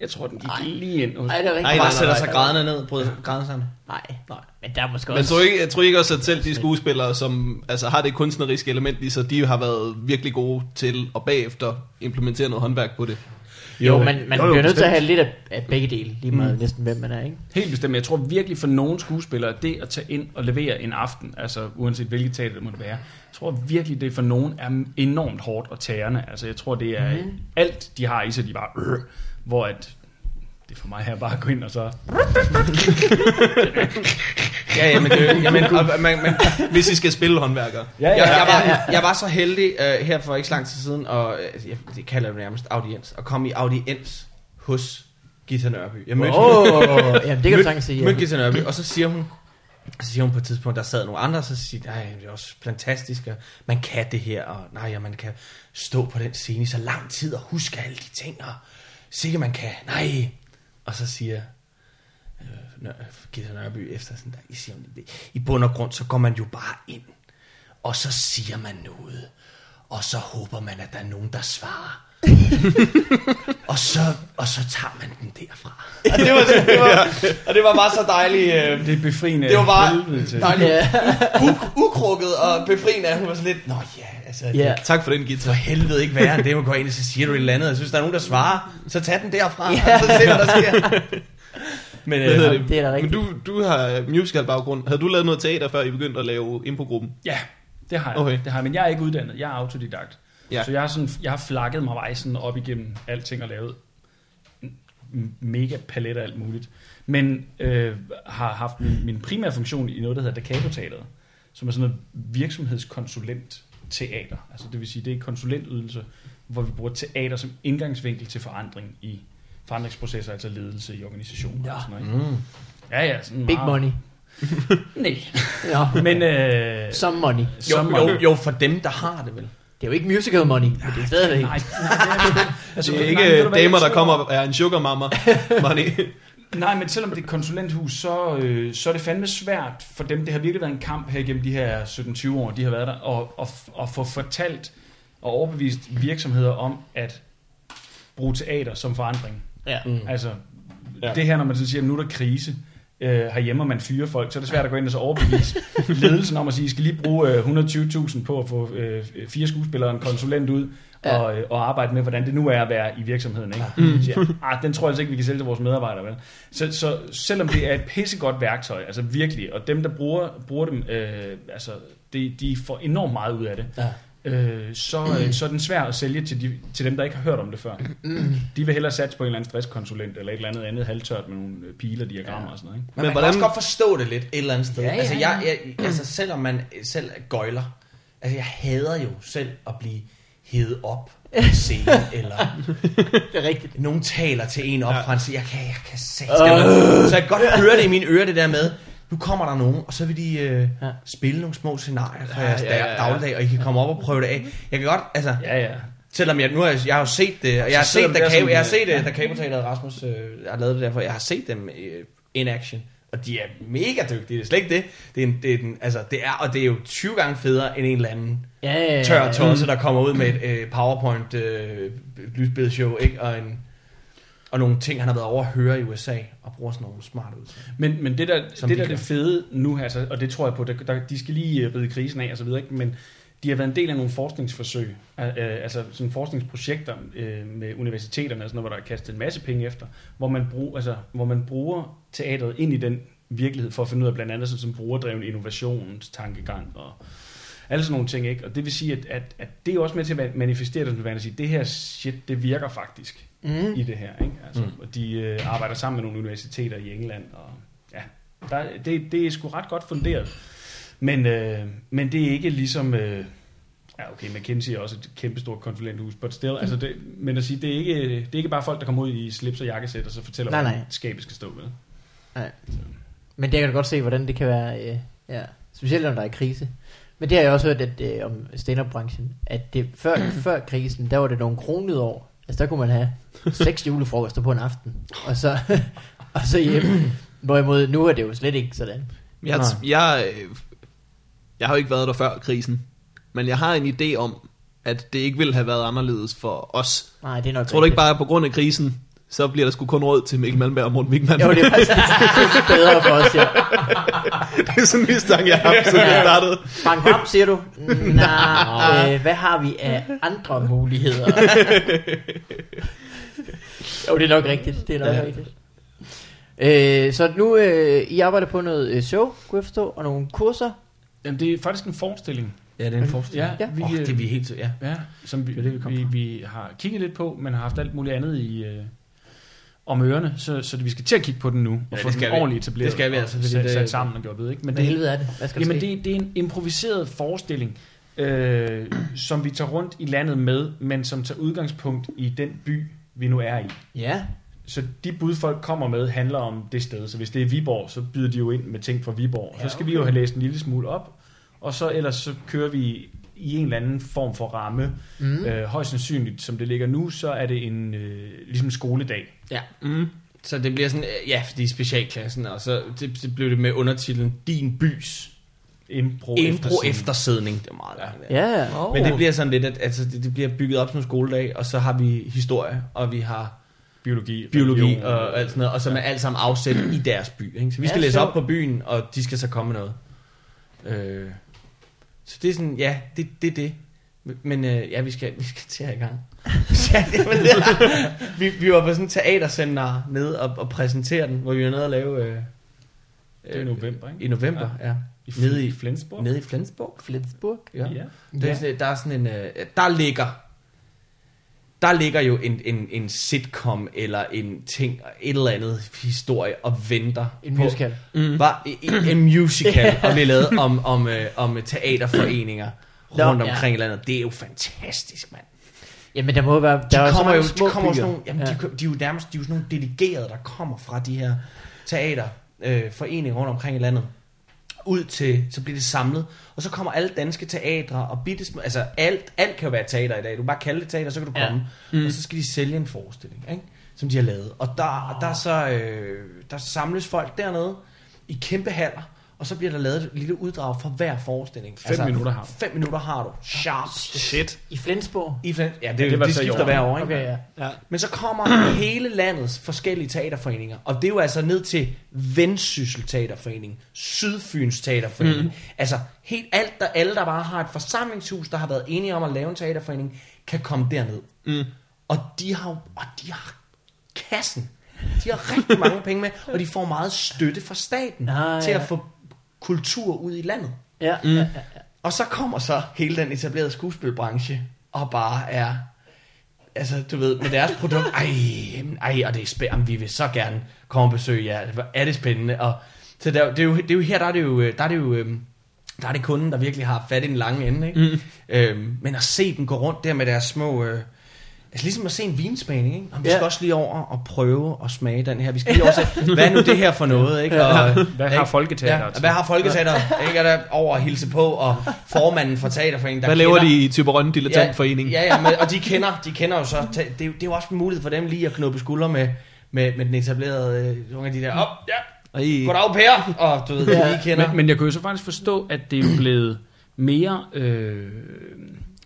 jeg tror, den gik lige ind. hos-"
Nej, det er
Han
rigtigt.
bare
nej,
sætter
nej,
sig
nej.
grædende ned, bryder grædende sammen.
Nej, nej. Men der er måske
men
også...
tror ikke, jeg tror ikke også, at selv de skuespillere, som altså, har det kunstneriske element i sig, de har været virkelig gode til at bagefter implementere noget håndværk på det.
Jo, man, man jo,
jo, jo,
jo, bliver nødt til at
bestemt.
have lidt af, af begge dele, lige meget mm. næsten hvem man er, ikke?
Helt bestemt. Jeg tror virkelig for nogle skuespillere, det at tage ind og levere en aften, altså uanset hvilket teater det måtte være, jeg tror virkelig, det for nogen er enormt hårdt og tærende. Altså jeg tror, det er
Mhm.
mm. alt, de har i sig, de bare, øh, hvor at, det er for mig her bare at gå ind og så...
Ja, ja, men det er jo... Jamen, og, man, man,
Hvis I skal spille håndværkere.
Ja,
jeg, jeg, var, jeg var så heldig øh, her for ikke så lang tid siden, og øh, jeg, det kalder jeg jo nærmest audiens, at komme i audiens hos Gita Nørby. Jeg mødte
Åh, oh, jamen det kan du sagtens sige.
mødte
Ja.
Gita Nørby, og så siger hun, Så siger hun på et tidspunkt, der sad nogle andre, så siger de, nej, det er også fantastisk, og man kan det her, og nej, og man kan stå på den scene i så lang tid og huske alle de ting, og sikkert man kan, nej. Og så siger øh, Gita Nørby efter sådan der, I, siger, i bund og grund, så går man jo bare ind, og så siger man noget, og så håber man, at der er nogen, der svarer. og, så, og så tager man den derfra. Og det var, det var, og det var bare så dejligt. Øh,
Det er befriende.
det var bare
helvede til.
dejligt
Ja.
u- ukrukket og befriende, at hun var sådan lidt, nå ja, altså,
Ja.
yeah.
Tak for den,
for
Gita.
helvede ikke værre end det, man går ind og så siger du et eller andet, og jeg synes, der er nogen, der svarer, så tag den derfra,
Ja.
yeah. og så se, hvad der sker. Men
Hvad hedder
øh,
det?
det er da
Men
rigtigt.
du, du har musical baggrund. Havde du lavet noget teater, før I begyndte at lave improgruppen?
Ja, det har jeg.
Okay.
Okay. Det har jeg. Men jeg er ikke uddannet. Jeg er autodidakt.
Ja.
Ja. Så jeg har, sådan, jeg har flakket mig vej sådan op igennem alting og lavet en mega palet af alt muligt. Men øh, har haft min, min primære funktion i noget, der hedder Dacapo Teateret, som er sådan noget virksomhedskonsulent teater. Altså det vil sige, det er konsulentydelse, hvor vi bruger teater som indgangsvinkel til forandring i forandringsprocesser, altså ledelse i organisationer ja. Mm.
Nå.
og sådan noget. ikke? Ja, ja. Sådan
Big
meget-
money.
Nej.
Ja.
Men øh,
Some money.
som-
jo, jo, jo, for dem, der har det vel.
Det er jo ikke musical money, men det er stadigvæk.
Nej, nej, altså,
Det er
nej, ved du
ikke
hvad,
damer,
jeg
der
tror-
kommer og er en sugar mama. Money.
Nej, men selvom det er et konsulenthus, så, øh, så er det fandme svært for dem. Det har virkelig været en kamp her igennem de her 17-20 år, de har været der, og, og, og få fortalt og overbevist virksomheder om at bruge teater som forandring.
Ja.
Mm.
Altså,
Ja.
ja. det her, når man så siger, at nu er der krise, øh, herhjemme, og man fyrer folk, så er det svært at gå ind og så overbevise ledelsen om at sige, I skal lige bruge øh, 120.000 på at få øh, fire skuespillere og en konsulent ud,
Ja.
og, øh, og arbejde med, hvordan det nu er at være i virksomheden. Ikke? Mm. Siger, "Ah, den tror jeg altså ikke, vi kan sælge til vores medarbejdere. Vel? Så, så selvom det er et pissegodt værktøj, altså virkelig, og dem, der bruger, bruger dem, øh, altså, de, de får enormt meget ud af det,
Ja.
øh, så, øh, så er den svær at sælge til, de, til dem, der ikke har hørt om det før. De vil hellere satse på en eller anden stresskonsulent, eller et eller andet andet halvtørt med nogle øh, piler, diagrammer ja. og sådan noget. Ikke?
Men, Men man
hvordan-
hvordan... kan også godt forstå det lidt et eller andet sted.
Ja, ja,
altså,
ja.
jeg, jeg, altså, selvom man selv er gøjler, altså, jeg hader jo selv at blive hævet op på en scene, eller
Det er rigtigt.
nogen taler til en op fra en siger, jeg kan, jeg kan sætte
Øh.
Så jeg kan godt høre det i mine ører, det der med, nu kommer der nogen, og så vil de øh,
Ja.
ja. spille nogle små scenarier fra
Ja,
jeres
ja,
ja,
ja, ja.
dagligdag, og I kan komme op og prøve det af. Jeg kan godt, altså, ja.
Ja, ja.
selvom jeg, nu har jeg, jeg har jo set det, og jeg har
Så
set,
selvom det
der
er
kan,
sådan,
jeg har set
ja.
det, der kabeltaler Rasmus øh, har lavet det derfor, jeg har set dem øh, in action, og de er mega dygtige, det er slet ikke det. Det er, en, det er den, altså, det er, og det er jo 20 gange federe end en eller anden
Ja, ja, ja.
tør tosse, der kommer ud med et øh, PowerPoint øh, lysbilledshow, ikke? Og, en, og nogle ting, han har været over at høre i USA, og bruger sådan nogle smarte udtryk.
Men, men det der,
Som
det,
de
der er det
gør.
fede nu her, altså, og det tror jeg på, der, der, de skal lige øh, ride krisen af og så videre, ikke? men de har været en del af nogle forskningsforsøg, øh, øh, altså sådan forskningsprojekter øh, med universiteterne, og sådan noget, hvor der er kastet en masse penge efter, hvor man, brug, altså, hvor man bruger teateret ind i den virkelighed, for at finde ud af blandt andet sådan, som brugerdreven innovationstankegang og alle sådan nogle ting, ikke? Og det vil sige, at, at, at det er også med til at manifestere det, som man sige, det her shit, det virker faktisk
Mm.
i det her. Ikke? Altså, mm. Og de øh, arbejder sammen med nogle universiteter i England. Og, ja, der, det, det er sgu ret godt funderet. Men, øh, men det er ikke ligesom... Øh, ja, okay, McKinsey er også et kæmpestort konsulenthus, but still, altså det, men at sige, det er, ikke, det er ikke bare folk, der kommer ud i slips og jakkesæt, og så fortæller,
Nej,
hvordan
nej.
skabet skal stå med.
Men det kan du godt se, hvordan det kan være, øh, ja. specielt om der er krise. Men det har jeg også hørt at, øh, om stand-up-branchen, at det, før, før krisen, der var det nogle kronede år. Altså der kunne man have seks julefrokoster på en aften, og så, og så hjemme. Hvorimod nu er det jo slet ikke sådan.
Jeg, jeg, øh, jeg har jo ikke været der før krisen, men jeg har en idé om, at det ikke ville have været anderledes for os.
Nej, det er nok
Tror du ikke
rigtigt.
bare, at på grund af krisen, så bliver der sgu kun råd til Mikkel Malmberg og Morten Wigman?
Jo, det er faktisk bedre for os, ja.
det er sådan en mistanke, jeg har haft, siden jeg startede.
Frank Vam, siger du?
Mm.
Nej, øh, hvad har vi af andre muligheder? jo, det er nok rigtigt. Det er nok
Ja.
ja. rigtigt. Øh, så nu, øh, I arbejder på noget øh, show, kunne jeg forstå, og nogle kurser.
Jamen, det er faktisk en forestilling,
Ja, det er en forestilling.
Ja, øh,
vi, oh, det er vi helt ja.
Ja, som vi,
Det er det, vi kom
vi,
fra.
vi har kigget lidt på, men har haft alt muligt andet i øh, om ørerne, så, så vi skal til at kigge på den nu, og
det
få den
skal vi.
ordentligt etableret,
Det skal vi
og
altså, fordi
sat,
det-
sat sammen og gjort ved. Ikke? Men
Hvad helvede er det? Hvad skal der
Jamen
ske?
det, det er en improviseret forestilling, øh, som vi tager rundt i landet med, men som tager udgangspunkt i den by, vi nu er i.
Ja,
så de bud, folk kommer med, handler om det sted. Så hvis det er Viborg, så byder de jo ind med ting fra Viborg. Ja,
Ja,
så skal
okay.
vi jo have læst en lille smule op, og så ellers så kører vi i en eller anden form for ramme.
Mm.
Mm. Øh, højst sandsynligt, som det ligger nu, så er det en øh, ligesom skoledag.
Ja. Mm. Så det bliver sådan, øh, ja, fordi specialklassen, og så det, det blev det med undertitlen Din bys
Impro,
impro
eftersidning.
eftersidning. Det er meget langt.
Ja, ja.
Oh. Men det bliver sådan lidt, at altså, det, det bliver bygget op som en skoledag, og så har vi historie, og vi har
biologi,
biologi
religion.
og alt sådan noget, og som er alt sammen afsat i deres by. Ikke? Så vi
Ja,
skal læse
sjovt.
op på byen, og de skal så komme med noget. Øh, så det er sådan, ja, det er det, det. Men øh, ja, vi skal, vi skal til at i gang. ja, det var det. Vi, vi var på sådan en teaterseminar nede og, og præsentere den, hvor vi var nede og lave... Øh,
Det er i november, ikke?
I november, ja. ja.
I
Nede i,
Flensborg.
nede i Flensborg.
Flensburg.
Ja.
Ja.
Der, er sådan, der er sådan en, øh, der ligger, der ligger jo en, en, en sitcom eller en ting, et eller andet historie og venter
En
på,
musical.
Mm. Var en, en musical, og vi lavede om, om, øh, om teaterforeninger
Nå,
rundt
ja.
omkring i landet. Det er jo fantastisk, mand.
Jamen, der må være... Der
De
er så
kommer
mange
jo,
små
de kommer jo
byer.
sådan nogle, jamen,
ja.
ja. de, de, er jo nærmest de er jo sådan nogle delegerede, der kommer fra de her teaterforeninger øh, foreninger rundt omkring i landet. Ud til, så bliver det samlet, og så kommer alle danske teatre og bitte små, altså alt, alt kan jo være teater i dag. Du kan bare kalde det teater, så kan du
Ja.
komme. Mm. Og så skal de sælge en forestilling, ikke? som de har lavet. Og der, der, er så, øh, der samles folk dernede i kæmpe haller, og så bliver der lavet et lille uddrag for hver forestilling. Altså,
Fem minutter har du.
Fem minutter har du. Sharp.
Shit.
I Flensborg.
I, ja, det, ja,
det
det,
var
det
så i
skifter
år.
hver år, ikke?
Okay, ja.
Ja.
Men så kommer hele landets forskellige teaterforeninger, og det er jo altså ned til Vendsyssel Teaterforening, Sydfyns Teaterforening, mm. altså helt alt, der alle, der bare har et forsamlingshus, der har været enige om at lave en teaterforening, kan komme derned. Mm. Og de har jo- og de har kassen. De har rigtig mange penge med, og de får meget støtte fra staten
Ah,
til
ja.
at få kultur ud i landet.
Ja, ja, ja.
Og så kommer så hele den etablerede skuespilbranche og bare er, altså du ved, med deres produkt, ej, jamen, ej og det er spændende, vi vil så gerne komme og besøge jer, Hvor er det spændende, og så der, det, er jo, det er jo her, der er det jo, øh, der er det jo, øhm, der er det kunden, der virkelig har fat i den lange ende, ikke? Mm. Øhm, men at se dem gå rundt der med deres små, øh, altså ligesom at se en vinsmagning, ikke? Jamen, vi skal
Ja.
også lige over og prøve at smage den her, vi skal lige over og se, hvad er nu det her for noget, ikke? Og,
Hvad
ikke?
har folketeater
Ja, og hvad har Folketeateret? Ah, Ikke er der over at hilse på, og formanden for Teaterforeningen, der
Hvad laver
kender,
de i Typerøn Dilettantforening?
Ja, ja, men, og de kender, de kender jo så, ta- det, er jo- det er jo også en mulighed for dem lige at knuppe skuldre med, med, med den etablerede, øh, nogle af de der, op, oh, ja,
Og I,
goddag Per, og du ved, ja. de lige kender.
Men, men jeg kunne jo så faktisk forstå, at det er jo blevet mere, øh,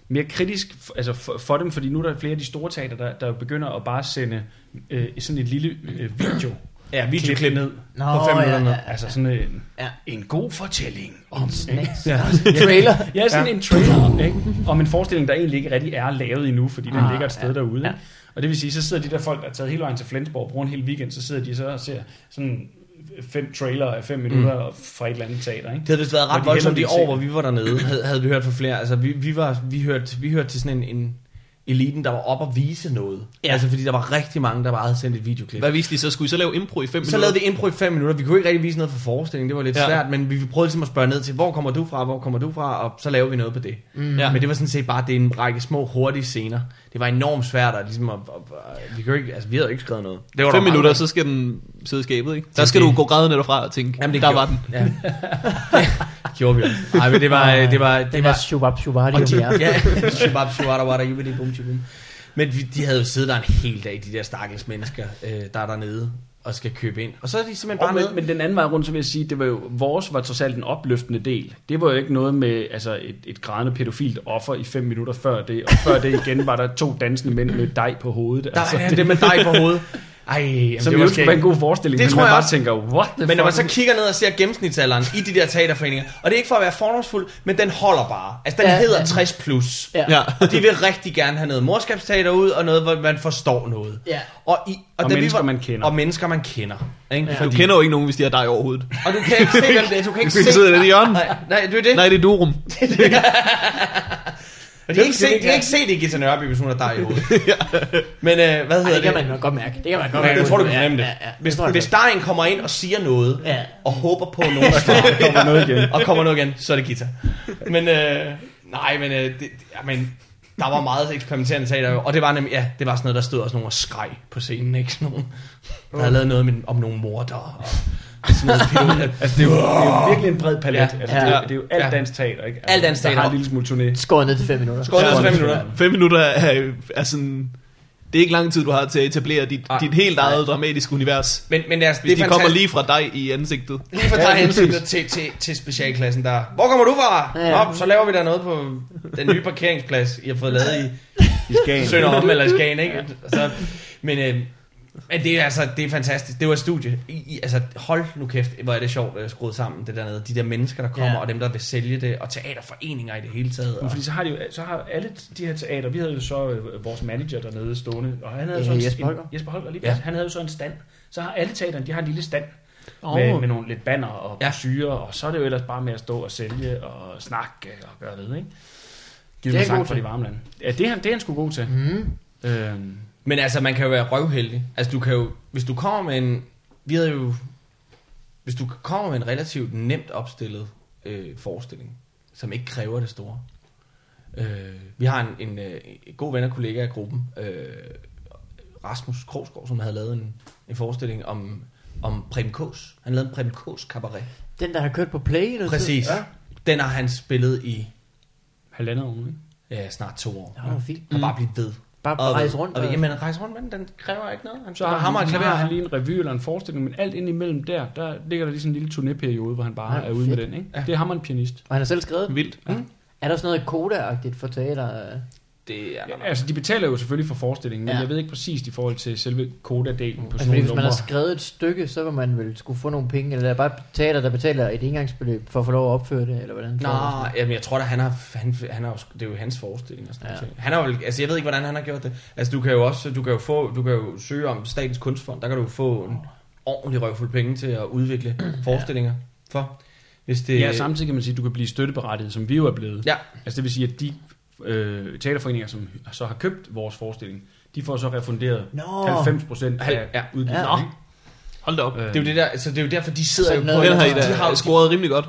mere kritisk f- altså for, for dem, fordi nu er der flere af de store teater, der, der jo begynder at bare sende øh, sådan et lille øh, video.
ja,
klip ned
Nå,
på fem
ja,
minutter.
ja, ja.
Altså sådan en,
Ja.
en god fortælling om... Altså,
Snacks. Trailer.
Ja, sådan ja. en trailer ikke? om en forestilling, der egentlig ikke rigtig er lavet endnu, fordi den
Ah,
ligger et sted
ja,
derude.
ja.
Ikke? Og det vil sige, så sidder de der folk, der er taget hele vejen til Flensborg, bruger en hel weekend, så sidder de så og ser sådan fem trailer af fem minutter mm. fra et eller andet teater. Ikke?
Det havde vist været
Hvor
ret
de
voldsomt i
hellere ville
år,
se
hvor vi var dernede, havde, havde vi hørt fra flere. Altså, vi, vi, var, vi, hørte, vi hørte til sådan en, en eliten, der var op og vise noget. Ja. Altså, fordi der var rigtig mange, der bare havde sendt et videoklip.
hvad viste de så? Skulle I så lave impro i fem
Så
minutter?
lavede vi impro i 5 minutter. Vi kunne ikke rigtig vise noget for forestillingen. Det var lidt ja.
Ja.
svært, men vi prøvede ligesom at spørge ned til, hvor kommer du fra, hvor kommer du fra, og så laver vi noget på det. Mm. Ja. Men det var sådan set bare, det er en række små, hurtige scener. Det var enormt svært, at, ligesom at, at, at vi, kunne ikke, altså, vi havde jo ikke skrevet noget. Det var der
Fem
mange,
minutter,
der-
så skal den sidde i skabet, ikke? Der skal
det.
du gå grædende derfra og tænke, Jamen,
Jamen, det
der
gjorde-
var den.
Ja. det gjorde vi også. Nej, men det var... Det var, det
Den
var
er shubab shubadi om
og
jer.
de, ja, shabab, shabada, wada, yubidi, bum, tjubum. Men vi, de havde jo siddet der en hel dag, de der stakkels mennesker, øh, der er dernede og skal købe ind. Og så er de simpelthen bare
Og men,
med.
men den anden vej rundt, så vil jeg sige, det var jo, vores var trods alt en opløftende del. Det var jo ikke noget med altså et, et grædende pædofilt offer i fem minutter før det, og før det igen var der to dansende mænd med dig på hovedet.
Der
altså,
er det med dig på hovedet. Ej, jamen,
som
det
jo
var
skulle være en
skægt.
god forestilling,
Det
men
tror
man
jeg
bare
også.
tænker, what the
Men når man så
fuck?
kigger ned og ser gennemsnitsalderen i de der teaterforeninger, og det er ikke for at være fordomsfuld, men den holder bare. Altså, den
Ja,
ja, hedder
ja.
60 plus.
Ja.
Ja.
Og de vil rigtig gerne have noget morskabsteater ud, og noget, hvor man forstår noget.
Ja.
Og, i,
Og
da
mennesker, man kender.
Og mennesker, man kender. Ikke?
Du kender jo ikke nogen, hvis de har dig overhovedet.
Og du kan ikke se, hvem det er. Du kan ikke
Du kan
se...
sidde i det hjørne.
Nej, nej, det er det.
Nej, det er Durum.
Og de har ikke set, de har ikke set det i Gita Nørby, hvis hun har dig i hovedet. Men øh, hvad hedder
Ej, det kan
det?
man jo godt mærke. Det kan man godt
Nej,
mærke.
jeg tror, du kan fornemme det.
Ja, ja, ja.
Hvis,
Det tror jeg
hvis
godt.
Dejen kommer ind og siger noget,
Ja.
og håber på at nogen svarer,
Der kommer noget igen.
og kommer nu igen, så er det guitar. Men øh, nej, men, øh, det, det- ja, men der var meget eksperimenterende teater, jo. og det var nemlig, ja, det var sådan noget, der stod også nogen og skreg på scenen, ikke? Sådan nogen, der havde lavet noget med, om nogle morder, og sådan noget pilot,
Altså, det er, jo, det er jo virkelig en bred palet.
Ja.
Ja, altså, Det, er,
Ja.
jo- det er jo alt
Ja.
dansk teater, ikke? Altså,
Alt dansk
Der
teater.
har en lille smule turné.
Skåret ned til 5 minutter.
Skåret ned til fem minutter.
Fem minutter er, er sådan... Det er ikke lang tid, du har til at etablere dit,
Nej.
dit helt eget dramatiske univers.
Men, men altså,
Hvis
det er
de kommer
fantastisk.
lige fra dig i ansigtet.
lige for
Ja,
dig
præcis.
hensynet til, til, til specialklassen der. Hvor kommer du fra?
Ja, ja.
Nå, så laver vi der noget på den nye parkeringsplads, I har fået lavet i
I Skagen.
Sønder om eller i Skagen, ikke? Så, men, øh, men det er altså, det er fantastisk. Det var et studie. I, I, altså, hold nu kæft, hvor er det sjovt øh, skruet sammen, det der nede. De der mennesker, der kommer,
Ja.
ja. og dem, der vil sælge det, og teaterforeninger i det hele taget.
Men
Og,
fordi så har, de jo, så har alle de her teater, vi havde jo så øh, vores manager dernede stående, og han havde
Øh,
så en,
Jesper Holger.
En, Jesper Holger lige
Ja.
ja. han havde jo så en stand. Så har alle teaterne, de har en lille stand
Åh.
oh. med, med nogle lidt banner og
Ja.
ja. syre, og så er det jo ellers bare med at stå og sælge og snakke og gøre ved, ikke? Giv
Det er
dem en
han god
sang fra
til.
de varme lande. Ja, det er han, det er han sgu god til.
Mm.
Øhm,
Men altså, man kan jo være røvheldig. Altså, du kan jo, hvis du kommer med en, vi havde jo, hvis du kommer med en relativt nemt opstillet øh, forestilling, som ikke kræver det store. Øh, vi har en, en, øh, en god ven og kollega af gruppen, øh, Rasmus Krogsgaard, som havde lavet en, en forestilling om, om Prem K's. Han lavede en Prem K's cabaret.
Den, der har kørt på play i noget tid.
Præcis.
Ja.
Den har han spillet i
halvandet år, ikke?
øh, snart to år.
Nå, det var fint.
Han bare blevet ved.
Bare
Og-
rejse rundt.
Og,
og-
jamen, rejse rundt med den, den kræver ikke noget. Han
Så har,
hammer
han,
og
så
klaver.
har han lige en revy eller en forestilling, men alt indimellem der, der ligger der lige sådan en lille turnéperiode, hvor han bare
Ja,
er ude
fedt.
med den. Ikke?
Ja.
Det er ham og en pianist.
Og han har selv skrevet den.
Vildt.
Mm.
Er der sådan noget koda-agtigt for teater? øh?
Det er der
Ja,
nok.
altså, de betaler jo selvfølgelig for forestillingen, men
Ja.
ja. jeg ved ikke præcist i forhold til selve kodadelen på
Altså,
sådan
fordi
nogle
hvis man har
numre.
skrevet et stykke, så vil man vel skulle få nogle penge, eller der er bare teater, der betaler et engangsbeløb for at få lov at opføre det, eller hvordan?
Nå,
foregår det?
jamen, jeg tror da, han har, han, han har, jo sk- det er jo hans forestilling og sådan
Ja.
ja. noget. Han har vel, altså jeg ved ikke, hvordan han har gjort det. Altså du kan jo også, du kan jo få, du kan jo søge om Statens Kunstfond, der kan du jo få en ordentlig røvfuld penge til at udvikle forestillinger for. Hvis det,
Ja, samtidig kan man sige, at du kan blive støtteberettiget, som vi jo er blevet.
Ja.
Altså, det vil sige, at de øh, teaterforeninger, som så har købt vores forestilling, de får så refunderet
Nå.
90 procent af
Ja.
ja.
Ja.
udgifterne.
Hold da op.
Ja.
det er jo det der, altså det er jo derfor, de sidder
Så
jo på,
noget-
Den har I
de har
da
jo,
scoret rimelig godt.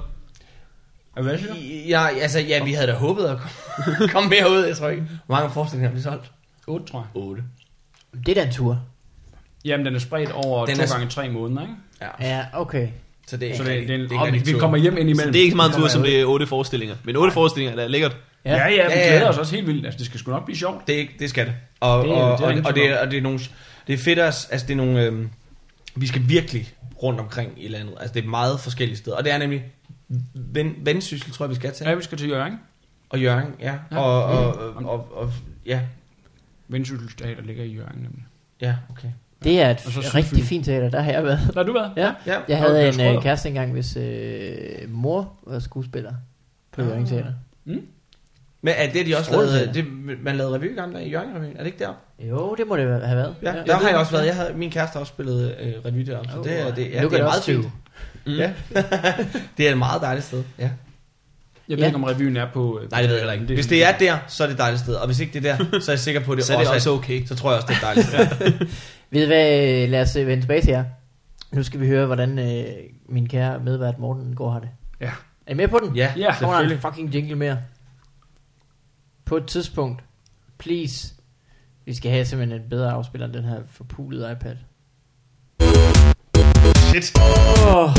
Hvad siger du?
de, ja, altså, ja, vi havde da håbet at komme- komme mere ud, jeg tror ikke. Hvor mange forestillinger har vi solgt?
8, tror jeg.
8.
Det er da en tur.
Jamen, den er spredt over
Den
den to
er-
er... gange tre måneder, ikke?
Ja,
Ja, okay.
så det er
Så
ikke
det,
rigtig-
det, er en,
det er ikke rigtig
vi
tur.
kommer hjem ind
Så
imellem.
det er ikke så meget en tur,
Kommer
som
jeg ud.
det er otte forestillinger. Men otte forestillinger, der er lækkert.
Ja.
Ja, ja, ja, vi
Ja, ja.
glæder os også helt vildt. Altså, det skal sgu nok blive sjovt.
Det, er ikke- det skal det. Og,
Det
det,
er-
og,
det er
og,
lidt
og,
for
det, er- og det er nogle, det er fedt også, altså det er nogle, øhm, vi skal virkelig rundt omkring i landet. Altså det er meget forskellige steder. Og det er nemlig ven, vendsyssel, tror jeg, vi skal til.
Ja, vi skal til Jørgen.
Og Jørgen, ja.
Ja. Mm.
Og, og, og, og, og, ja,
Vendsyssel Teater ligger i Jørgen, nemlig.
ja, okay.
Det er et
Og så
f-
Sydfyn.
rigtig fint teater, der har jeg været.
Der har du været?
Ja.
Ja,
Jeg
Nå,
havde
det er
en øh,
Schrøder.
kæreste engang, hvis øh, mor var skuespiller på
Ah.
Jørgen Teater.
men er det de også
Strålende.
lavede, det, man lavede revy i gamle dage i Jørgen Revyen, er det ikke deroppe?
Jo, det må det have været.
Ja, der har jeg også været, jeg havde, min kæreste har også spillet øh, revy deroppe, så
Oh,
det, er- det, ja,
nu kan
det er
det
meget
også
fint.
flyve.
Mm. Ja. det er et meget dejligt sted, ja.
Jeg ved
Ja.
ikke, om revyen er på... øh,
Nej, det ved jeg heller ikke. Hvis det er der, så er det et dejligt sted. Og hvis ikke det er der, så er jeg sikker på, at det,
Så er det
også
også
er,
okay.
så tror jeg også, det er et dejligt sted.
Ved I hvad, lad os øh, vende tilbage til jer. Nu skal vi høre, hvordan øh, min kære medvært Morten går har det.
Ja.
Er I med på den?
Ja,
Ja,
Så kommer der en
selvfølgelig.
fucking jingle mere. På et tidspunkt, please, vi skal have simpelthen en bedre afspiller end den her forpulede iPad.
Shit.
Oh,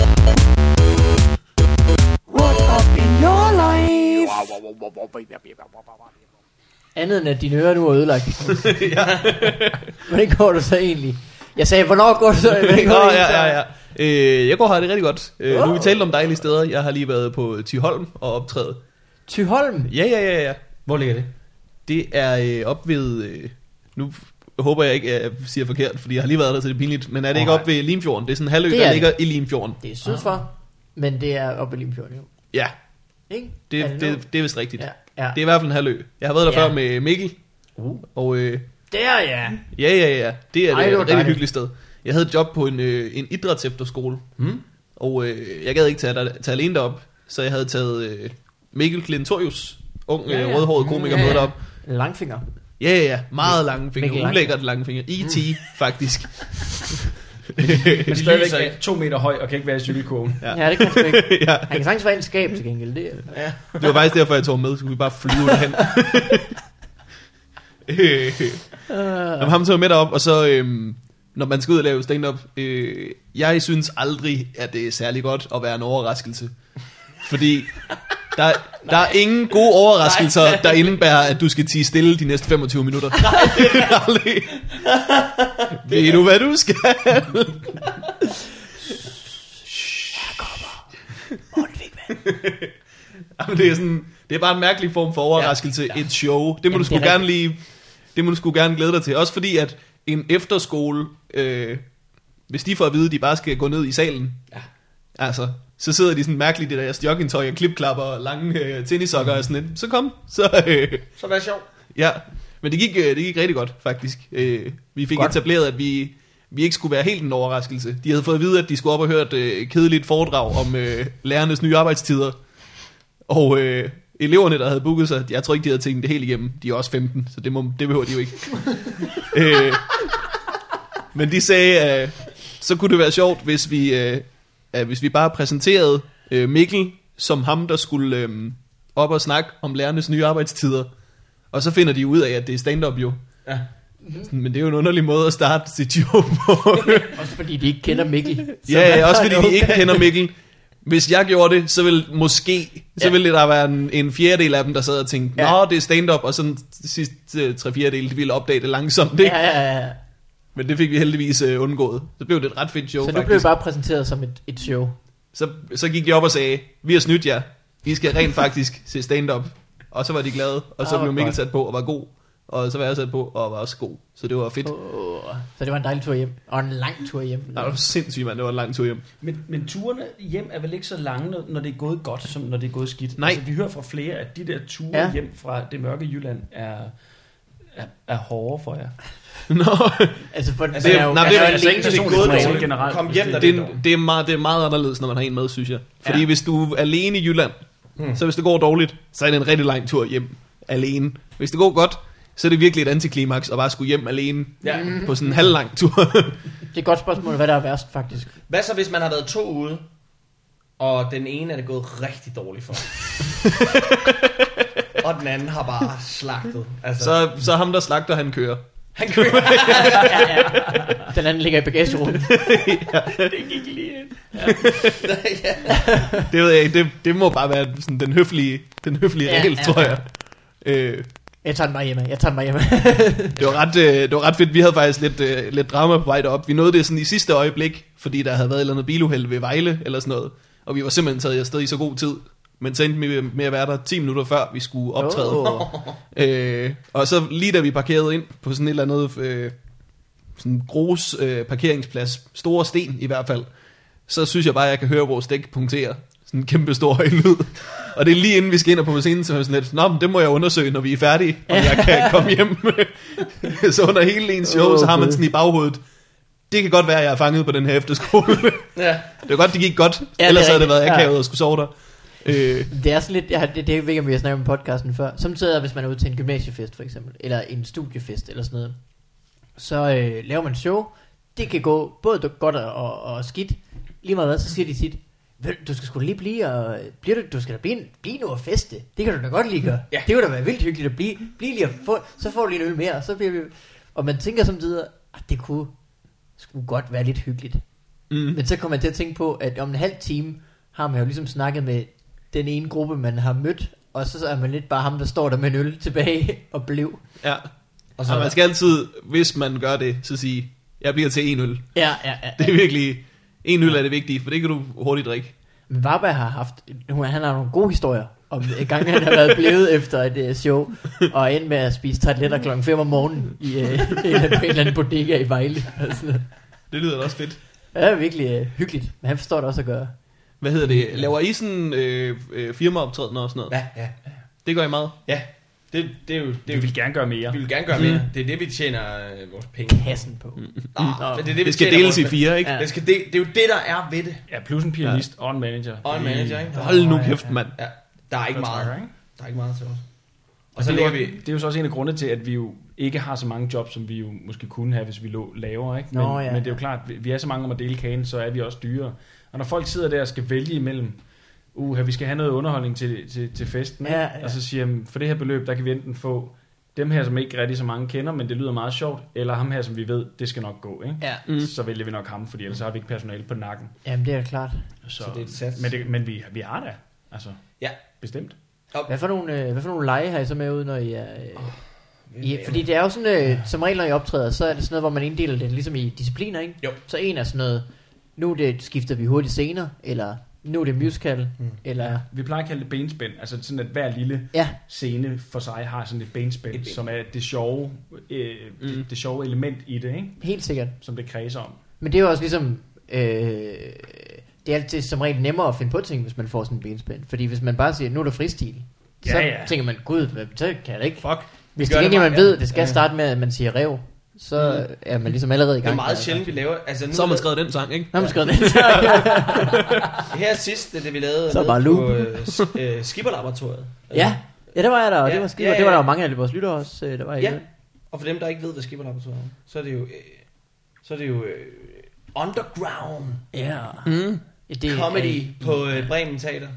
What up in your life?
andet end at dine ører nu er ødelagt. Hvordan går det så egentlig? Jeg sagde, hvornår går det så? Hvordan
Nå,
går det
ja,
egentlig så?
ja, ja. Øh, jeg går her det rigtig godt. Øh, nu har vi
Wow.
talt om dejlige steder. Jeg har lige været på Tyholm og optræde.
Thyholm.
Ja, ja, ja, ja.
Hvor ligger det?
Det er øh, op ved... Øh, nu f- håber jeg ikke, at jeg siger forkert, fordi jeg har lige været der, så det er pinligt. Men er det ikke
Nej.
op ved Limfjorden? Det er sådan en halvø,
Det
der
er
ligger i Limfjorden.
Det er syd
Ah.
for, men det er oppe i Limfjorden jo.
Ja,
Ikke? Er
det,
nu?
det, det er vist rigtigt.
ja, ja.
Det er i hvert fald en halvø. Jeg har været der
Ja.
før med Mikkel.
Uh.
Og øh,
Der ja.
ja, ja, ja. Det er
Ej,
Ej,
det
et
var
rigtig
dejligt.
hyggeligt sted. Jeg havde et job på en, øh, en idrætsefterskole.
Hmm?
Og øh, jeg gad ikke tage, der- tage alene derop, så jeg havde taget øh, Mikkel Klintorius, ung ja,
Ja,
ja.
ja.
rødhåret komiker,
Mm, ja,
med
ja.
derop.
Langfinger.
Ja, ja, ja. Meget lange
Mikkel
fingre.
Langfingre.
Ulækkert lange fingre. E.T. faktisk.
Men
stadigvæk
stadigvæk er to meter høj og kan ikke være i cykelkurven.
Ja.
Ja, ja det kan han sgu ikke.
ja,
Han kan sagtens være i en skab til gengæld. Det er,
det var faktisk derfor, jeg tog ham med. Så kunne vi bare flyve derhen. Jamen, ham tager med derop, og så, øhm, når man skal ud og lave stand-up, øh, jeg synes aldrig, at det er særlig godt at være en overraskelse. Fordi der, der er ingen gode overraskelser, Nej. der indebærer, at du skal tige stille de næste 25 minutter. Nej, det er aldrig. Ved du, hvad du skal? Jamen, det, er sådan, det er bare en mærkelig form for overraskelse. Ja, ja. Et show. Det må
Jamen,
du sgu
det er
gerne lige... Det må du sgu gerne glæde dig til. Også fordi, at en efterskole... Øh, hvis de får at vide, at de bare skal gå ned i salen... Ja. Altså, så sidder de sådan mærkeligt i deres joggingtøj og klipklapper og lange øh, tennissokker og sådan lidt. Så kom. Så, øh,
Så vær sjov.
ja. Men det gik, øh, det gik rigtig godt, faktisk. Øh, vi fik godt. etableret, at vi, vi ikke skulle være helt en overraskelse. De havde fået at vide, at de skulle op og høre et øh, kedeligt foredrag om øh, lærernes nye arbejdstider. Og øh, eleverne, der havde booket sig, jeg tror ikke, de havde tænkt det helt igennem. De er også 15, så det, må, det behøver de jo ikke. øh, men de sagde, øh, så kunne det være sjovt, hvis vi, øh, øh, hvis vi bare præsenterede øh, Mikkel som ham, der skulle øh, op og snakke om lærernes nye arbejdstider. Og så finder de ud af, at det er stand-up jo.
Mm.
Ja.
Sådan, men det er jo en underlig måde at starte sit job på.
Også fordi de ikke kender Mikkel.
Ja, ja, også fordi
Okay.
de ikke kender Mikkel. Hvis jeg gjorde det, så ville måske, så
Ja.
ville der være en, en fjerdedel af dem, der sad og tænkte,
Ja.
nå, det er stand-up, og sådan sidste øh, tre fjerdedel, de ville opdage det langsomt, ikke?
Ja, ja, ja.
Men det fik vi heldigvis øh, undgået. Så blev det et ret fedt show,
Så
så
nu
faktisk.
blev
Bare...
bare præsenteret som et, et show.
Så, så gik de op og sagde, vi har snydt jer, I skal rent faktisk se stand-up. Og så var de glade, og så
Ah,
oh,
hvor
blev Mikkel
godt.
sat på og var god, og så var jeg sat på og var også god. Så det var fedt. Oh.
Oh, så det var en dejlig tur hjem. Og en lang tur hjem.
Det var sindssygt, mand. Det var en lang tur hjem.
Men, men turene hjem er vel ikke så lange, når, når det er gået godt, som når det er gået skidt?
Nej.
Altså, vi hører fra flere, at de der ture
Ja.
ja. hjem fra det mørke Jylland er, er, er hårde for jer.
Nå,
Altså, for,
Altså,
man
det-
jo-
nej,
man
det er
jo
altså
alene
ikke- det er
som
gået
regel.
dårligt.
generelt.
Kom hjem,
hvis
da
det,
det
er, det, er meget, det er meget anderledes, når man har en med, synes jeg. Fordi ja. hvis du er alene i Jylland, mm. så hvis det går dårligt, så er det en rigtig lang tur hjem alene. Hvis det går godt, så er det virkelig et antiklimaks at bare skulle hjem alene
Ja.
på sådan en halvlang tur.
Det er et godt spørgsmål, hvad der er værst, faktisk.
Hvad så, hvis man har været to ude, og den ene er det gået rigtig dårligt for? og den anden har bare slagtet. Altså,
så, så er ham, der slagter, han kører.
han kører.
Den anden ligger i bagagerummet.
ja.
Det ved jeg ikke, det, det må bare være sådan den høflige, den høflige
Ja,
ja, regel,
ja,
ja, tror
ja.
jeg. Øh,
Jeg tager den bare hjemme. Jeg tager den bare hjemme.
Det var, ret, øh, det var ret fedt. Vi havde faktisk lidt, øh, lidt drama på vej derop. Vi nåede det sådan i sidste øjeblik, fordi der havde været et eller andet biluheld ved Vejle eller sådan noget. Og vi var simpelthen taget afsted i så god tid. Men så endte vi med at være der 10 minutter før vi skulle optræde. Oh.
Åh.
Øh, og så lige da vi parkerede ind på sådan et eller andet øh, sådan grus øh, parkeringsplads, store sten i hvert fald, så synes jeg bare, at jeg kan høre vores dæk punktere. Sådan en kæmpe stor høj lyd. Og det er lige inden vi skal ind og på scenen, så er jeg sådan lidt, Nå, men det må jeg undersøge, når vi er færdige, om jeg kan komme hjem. så under hele ens show, så har man sådan i baghovedet, det kan godt være, at jeg er fanget på den her efterskole.
ja.
det var godt, det gik godt.
det er
Ellers havde det
rigtigt.
været
Ja.
akavet og skulle sove der. Øh,
Det er sådan lidt, jeg, har- det, det ved jeg ikke, om vi har snakket om i podcasten før. Samtidig, hvis man er ude til en gymnasiefest for eksempel, eller en studiefest eller sådan noget, så øh, laver man et show. Det kan gå både du- godt og, og, og skidt. Lige meget hvad, så siger de tit, "Vel, du skal sgu da lige blive, og bliver du, du skal da blive, en- blive nu og feste. Det kan du da godt lige gøre.
Ja.
Det kunne da være vildt hyggeligt at blive, blive lige og få, så får du lige en øl mere, og så bliver vi... Og man tænker samtidig, at det kunne skulle godt være lidt hyggeligt.
mm,
Men så kommer jeg til at tænke på, at om en halv time har man jo ligesom snakket med den ene gruppe, man har mødt, og så er man lidt bare ham, der står der med en øl tilbage og blev.
ja.
Og
Og så man skal altid, hvis man gør det, så sige, jeg bliver til en øl.
Ja, ja, ja.
Det er virkelig, en øl er det vigtige, for det kan du hurtigt drikke.
Men Varberg har haft, hun- han har nogle gode historier om gangen, han har været blevet efter et øh, show, og endte med at spise tartletter klokken 5 om morgenen i, øh, eller på en eller anden bodega i Vejle. Og sådan noget.
Det lyder da også fedt.
Ja, det er virkelig øh, hyggeligt, men han forstår det også at gøre.
Hvad hedder det? Laver I sådan øh, øh, firmaoptræden og sådan noget? Ja.
Ja, ja.
Det gør I meget.
ja. Det, det er jo... Det
Det
er jo
vi vil gerne gøre mere.
vi vil gerne gøre mere. Det er det, vi tjener øh, vores penge.
Kassen på.
Nå, men det er det, vi
Det skal
tjener
deles i
vores-
fire, ikke?
Ja.
Ja.
Det, skal de, det er jo det, der er ved det.
Ja, plus en pianist ja. og en manager.
Og en manager, ikke?
Hold nu kæft, mand.
Ja, der er ikke meget.
Ikke?
Der er ikke meget til os. Og
Og
så
så
lægger
det,
vi...
vi... det er jo så også en af grundene til, at vi jo ikke har så mange jobs, som vi jo måske kunne have, hvis vi lå lavere. Ikke? Men,
Nå, ja,
men det er jo
ja.
klart, vi- vi er så mange om at dele kagen, så er vi også dyrere. Og når folk sidder der og skal vælge imellem, uha, vi skal have noget underholdning til, til, til festen, ikke?
Ja, ja.
og så siger de, for det her beløb, der kan vi enten få dem her, som ikke rigtig så mange kender, men det lyder meget sjovt, eller ham her, som vi ved, det skal nok gå, ikke?
Ja,
Mm.
Så vælger vi nok ham, fordi ellers har vi ikke personale på nakken.
jamen det er klart.
Så,
Så det er et sats.
Men, det, men vi, vi har da, altså.
Ja.
Bestemt.
Hvad for nogle, øh, hvad for nogle lege har I så med ud, når I er... Øh, I, fordi det er jo sådan, øh, som regel når I optræder, så er det sådan noget, hvor man inddeler det ligesom i discipliner, ikke?
Jo.
Så en er sådan noget, nu er det skifter vi hurtigt scener, eller nu er det musical, mm. eller...
Vi plejer at kalde det benspænd, altså sådan at hver lille
Ja,
scene for sig har sådan et benspænd,
Et ben.
som er det sjove, øh, mm. det, det sjove element i det, ikke?
helt sikkert.
som det kredser om.
Men det er jo også ligesom... Øh, det er altid som regel nemmere at finde på ting, hvis man får sådan en benspænd. Fordi hvis man bare siger, nu er der fristil,
Ja,
så
ja.
tænker man, gud, hvad- så kan jeg da ikke.
Fuck.
Hvis
gør
det ikke
det
man
meget-
ved, det skal
Ja. Mm.
starte med, at man siger rev, så er man ligesom allerede i
Det
gang.
er meget sjældent, vi laver. Altså, nu,
Så har man skrevet den sang, ikke?
Nå, man skrevet det.
Her sidst, det, det vi lavede
Så
nede
bare
på
loop.
øh, s- øh, Skipperlaboratoriet.
ja. ja, der var jeg der, og det
Ja,
var skide,
ja,
ja, ja. det var
ja.
der jo mange af vores lyttere også, øh, der var i
Ja,
øvrigt.
og for dem, der ikke ved, hvad Skipperlaboratoriet er, så er det jo, øh, så er det jo øh, underground
Ja.
Mm.
ja. Det,
det,
er-
comedy på øh, Bremen Teater.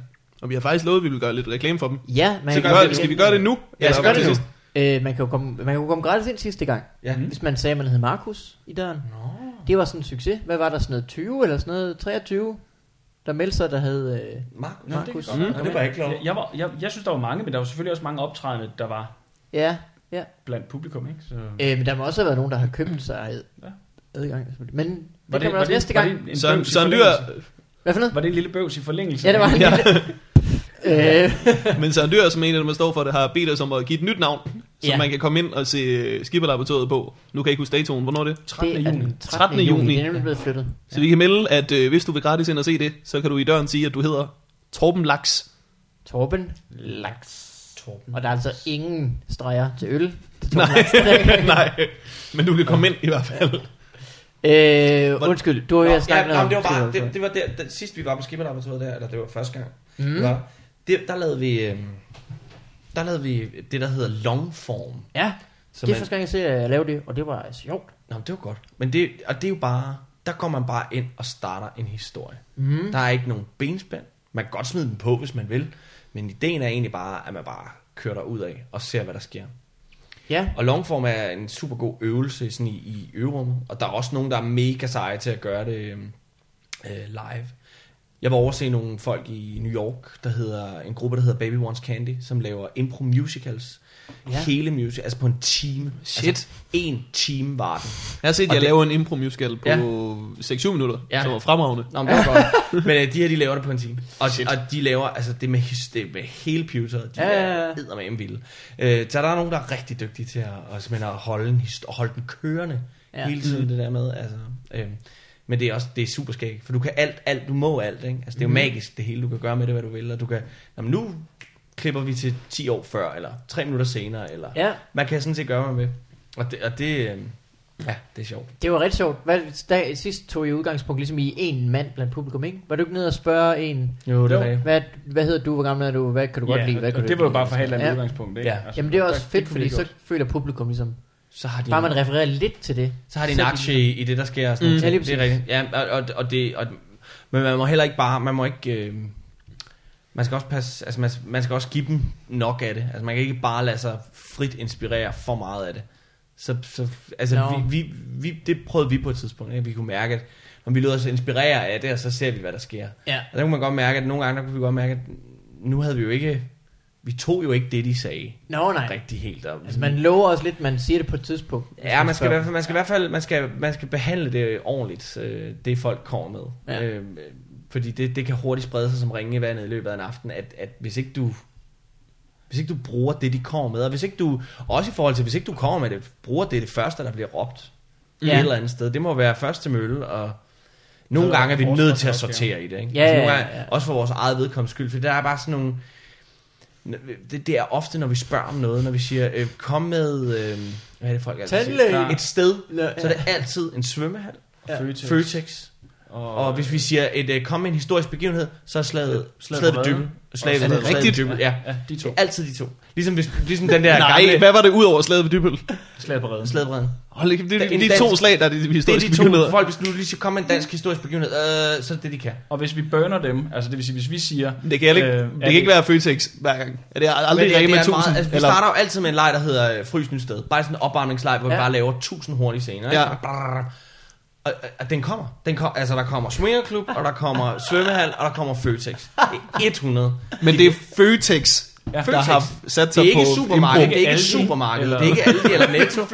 Og vi har faktisk lovet, at vi vil gøre lidt reklame for dem.
Ja, man
Så
kan
gør,
jo-
skal vi gøre det nu?
Ja, så
Eller
gør det
til
nu.
sidst?
Øh, man kan jo komme, man kan jo komme gratis ind sidste gang,
Ja.
Mm.
hvis man sagde, at man hed Markus i døren.
Nå.
Det var sådan en succes. Hvad var der sådan noget 20 eller sådan noget 23, der meldte sig, der havde... Øh,
Markus.
Nå, det kan
Markus.
godt
Mm. Det var jeg ikke klar
Jeg,
over.
jeg, var, jeg, jeg synes, der var mange, men der var selvfølgelig også mange optrædende, der var
ja,
blandt publikum, ikke? Så...
øh, men der må også have været nogen, der har købt sig ad,
Ja.
adgang. selvfølgelig. Men det var kan man også næste
var
gang.
det en
Søren,
bøvs i
Søren Dyr,
forlængelse?
Hvad for noget?
Var det en lille bøvs i forlængelse?
Ja, det var en
Ja.
lille... Øh,
men Søren Dyr, som en af dem, der står for det, har bedt os om at give et nyt navn, så
Ja.
man kan komme ind og se øh, Skipperlaboratoriet på. Nu kan jeg ikke huske datoen. Hvornår er det?
det
13.
er
juni.
den 13.
13.
juni.
juni.
Det er nemlig blevet flyttet.
Så vi kan melde, at øh, hvis du vil gratis ind og se det, så kan du i døren sige, at du hedder Torben Laks.
Torben Laks. Torben. Og der er altså
Mm-hmm.
ingen streger til øl. til Torben
Nej,
Laks. Der-
nej. Men du kan komme ind i hvert fald.
øh, undskyld, du har
Nå,
jo snakket
ja,
noget
nå, det var bare,
Skipper.
det, det var der, den, sidst vi var på Skipperlaboratoriet der, eller det var første gang,
Mm.
mm. var, det, der lavede vi, øh, der lavede vi det, der hedder longform.
Ja,
Så
det er
man-
første gang, jeg ser at lave det, og det var sjovt.
Nå, men det var godt. Men det, og det er jo bare, der går man bare ind og starter en historie.
Mm.
Der er ikke nogen benspænd. Man kan godt smide den på, hvis man vil. Men ideen er egentlig bare, at man bare kører der ud af og ser, hvad der sker.
Ja,
Og longform er en super god øvelse sådan i, i øverummet. Og der er også nogen, der er mega seje til at gøre det øhm, øh, live. Jeg var over at se nogle folk i New York, der hedder en gruppe, der hedder Baby Wants Candy, som laver impro musicals.
Ja.
Ja. Hele music, altså på en time.
Shit.
Altså, en time var den.
Jeg har set, at
Og
jeg
det-
laver en impro musical på
Ja.
6-7 minutter,
Ja.
som var fremragende.
Nå, men det var godt. Men øh, de her, de laver det på en time. Og, og de laver, altså det med, his- det med hele pivetøjet, de
Ja,
ja,
ja, ja.
er eddermame vilde. Øh, så der er nogen, der er rigtig dygtige til at, og simpelthen at holde, en, hist- holde den kørende
Ja.
ja. hele tiden, det der med. Altså, øh, men det er også det er super skægt, for du kan alt, alt, du må alt. Ikke? Altså, det er jo magisk det hele, du kan gøre med det, hvad du vil. Og du kan, jamen, nu klipper vi til 10 år før, eller 3 minutter senere, eller ja.
ja,
man kan sådan set gøre hvad man vil. Og det, og det øh, ja, det er sjovt.
Det var ret sjovt. Hvad, da, sidst tog I udgangspunkt ligesom i en mand blandt publikum, ikke? Var du ikke nede og spørge en,
Jo,
Jo.
det er
hvad, hvad hedder du, hvor gammel er du, hvad kan du godt
Ja,
lide, hvad
og-
kan
og
du
det
ikke
var jo
lide?
bare for helt andet
Ja.
udgangspunkt, ikke? Altså,
Ja.
Jamen det er også
der-
fedt,
det kunne
fordi
vi
så
godt.
føler publikum ligesom,
Så har de
bare man refererer lidt til det.
Så har de en
Så de-
aktie i i det, der sker. og Sådan
Mm.
mm.
Ja, lige
det er
præcis.
rigtigt. Ja, og, og, og det, og, men man må heller ikke bare, man må ikke, øh, man skal også passe, altså man, man skal også give dem nok af det. Altså man kan ikke bare lade sig frit inspirere for meget af det. Så, så altså
Nå.
no. vi, vi, vi, det prøvede vi på et tidspunkt, ikke? vi kunne mærke, at når vi lod os inspirere af det, og så ser vi, hvad der sker.
Ja.
Og der kunne man godt mærke, at nogle gange, der kunne vi godt mærke, at nu havde vi jo ikke, vi tog jo ikke det, de sagde
Nå nej,
rigtig helt. Og,
altså man lover også lidt, man siger det på et tidspunkt. hvis
Ja, man skal, i
spørger.
hvert fald, man skal i hvert fald man skal, man skal behandle det ordentligt, øh, det folk kommer med.
Ja.
Ja. Øh, fordi det, det kan hurtigt sprede sig som ringe i vandet i løbet af en aften, at, at hvis ikke du hvis ikke du bruger det, de kommer med, og hvis ikke du, også i forhold til, hvis ikke du kommer med det, bruger det det første, der bliver råbt ja.
Ja.
et eller andet sted. Det må være først til mølle, og nogle
Så er
gange er vi
der
nødt til at
forsvarsopgave.
sortere i det. Ikke? Altså,
Ja,
nogle
ja,
gange,
ja.
Også for vores eget vedkommens skyld, for der er bare sådan nogle... Det, det er ofte, når vi spørger om noget, når vi siger, øh, kom med... Øh, hvad er det, folk altid siger?
Tandlæge.
Et sted,
Nå,
så er det altid en svømmehal,
Ja.
Føtex,
Og,
Og hvis vi siger, et øh, kom med en historisk begivenhed, så er
Øh,
slaget, slaget,
Slaget
slaget
på
ved
Reden.
dybel. Slaget,
Er det
slaget ved
rigtigt?
Dybbøl, Ja.
ja, de to.
Altid de to. Ligesom, hvis, ligesom den der
Nej,
gamle
hvad var det ud over slaget ved Dybøl?
Slaget på redden.
slaget ved Reden.
Hold ikke, det,
Der-
er
en
de, de
dansk-
to slag, der er de
Det er
historiske
de to
begivenheder.
folk, hvis nu lige skal komme med en dansk historisk begivenhed, øh, så er det det, de kan.
Og hvis vi burner dem, altså det vil sige, hvis vi siger,
Det kan, ikke,
Øh,
det
er
kan
det-
ikke være Føtex hver gang. Er det aldrig
Men det,
Rema
det er
1000?
meget, altså, vi
eller-
starter jo altid med en leg, der hedder øh, Frys Nyt Sted. Bare sådan en opvarmningsleg, hvor ja. vi
Ja.
bare laver 1000 hurtige scener.
Ja.
Ikke? Brrr. Og, og, og, den kommer. Den kom, altså, der kommer swingerklub, og der kommer svømmehal, og der kommer Føtex. Det er 100.
Men det er Føtex,
Ja,
der
Føtex.
har sat
Det
sig
er
på
ikke supermarkedet,
impro.
det er ikke
Aldi,
supermarkedet,
eller-
det er ikke Aldi eller Netto.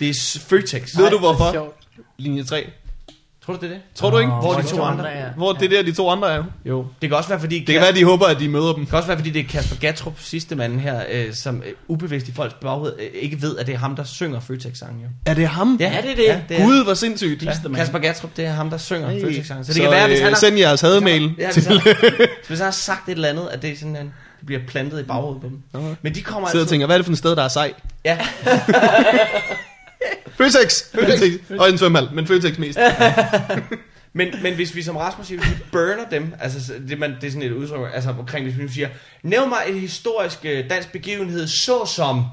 Det er s- Føtex.
Ved du
Ej, hvor
hvorfor?
sjovt.
Linje 3.
Tror du, det er det?
Tror du ikke?
Nå.
Hvor er de
Hvor
to
de
andre?
er.
Hvor det er der, de to andre er.
Jo. Det kan også være, fordi...
Det kan være, de håber, at de møder dem.
Det kan også være, fordi det er Kasper Gatrup, sidste manden her, øh, som øh, ubevidst i folks baghed øh, ikke ved, at det er ham, der synger Føtex-sangen. Jo.
Er det ham?
Er det det?
det
Gud, hvor sindssygt.
He's the man.
Kasper Gatrup, det er ham, der synger hey.
Hey.
Føtex-sangen. Så det så, kan være, hvis han
øh,
har...
send jeres hademail.
Ja,
til-
hvis, han, hvis han har sagt et eller andet, at det er sådan, han bliver plantet i baghovedet på dem.
Nå.
Men de kommer
Sidder og
altid...
tænker, hvad er det for et sted, der er sej?
Ja,
Føtex! Føtex. Og en svømmehal, men Føtex mest.
men, men hvis vi som Rasmus siger, hvis vi burner dem, altså så- det, man, det er sådan et udtryk, altså omkring, hvis vi nu siger, nævn mig et historisk øh, dansk begivenhed, såsom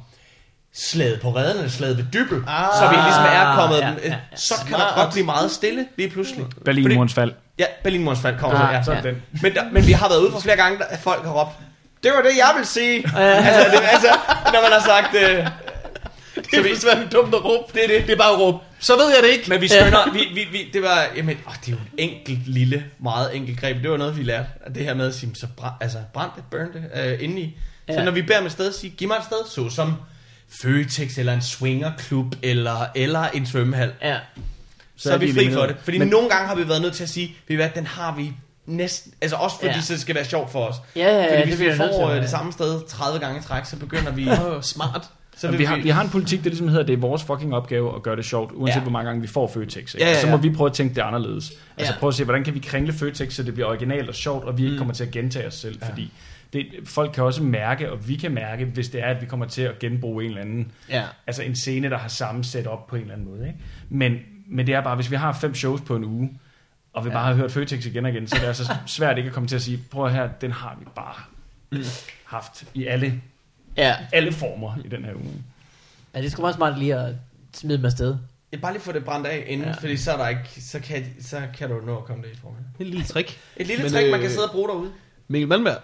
slaget på redden eller slaget ved dybel, ah, så vi ligesom er kommet, ja, ja, ja. så kan der godt blive meget stille lige pludselig.
Berlinmurens fald.
Fordi- Ja, Berlinmurens fald kommer så,
Ah,
ja.
Så er
Ja.
den.
Men, der, men vi har været ude for flere gange, at folk har råbt, det var det, jeg ville sige. altså, det, altså, når man har sagt... Øh, det er svært dumt at råbe. Det er det. Det er bare at råbe.
Så ved jeg det ikke.
Men vi skønner, vi, vi, vi, det var, jamen, åh, det er jo et enkelt lille, meget enkelt greb. Det var noget, vi lærte. At det her med at sige, så brænd, altså, brænd det, burn det øh, indeni. Så
Ja.
når vi beder med et sted, sige, giv mig et sted, såsom Føtex eller en swingerklub eller, eller en svømmehal
Ja.
så, så er
er
vi
de
fri for
elimineret.
det. Fordi men, nogle gange har vi været nødt til at sige, ved I hvad, den har vi næsten, altså også fordi ja.
Ja.
det skal være sjovt for os.
Ja, ja, ja,
fordi
det
hvis
bliver
vi
jeg nødt
får
til,
øh,
ja.
det samme sted 30 gange i træk, så begynder vi... smart. Så
Jamen,
vil
vi, har, vi har en politik, der ligesom hedder, at det er vores fucking opgave at gøre det sjovt, uanset
Ja.
ja. hvor mange gange vi får Føtex. Ikke?
Ja,
Ja,
ja,
ja,
ja.
Så må vi prøve at tænke det anderledes. Altså
Ja.
prøve at se, hvordan kan vi kringle Føtex, så det bliver originalt og sjovt, og vi
Mm.
ikke kommer til at gentage os selv. Ja. Fordi det, folk kan også mærke, og vi kan mærke, hvis det er, at vi kommer til at genbruge en eller anden,
Ja.
altså en scene, der har samme setup på en eller anden måde. Ikke? Men, men det er bare, hvis vi har fem shows på en uge, og vi bare har hørt Føtex igen og igen, så er det altså svært ikke at komme til at sige, prøv at her, den har vi bare
Mm.
haft i alle,
Ja.
alle former i den her uge.
ja, det er sgu meget smart lige at smide dem afsted.
Jeg bare lige få det brændt af inden, ja. fordi så, er der ikke, så, kan, så kan du nå at komme det i forvejen.
En lille trick.
Et lille
Men,
trick, man
øh,
kan sidde og bruge derude.
Mikkel Malmberg,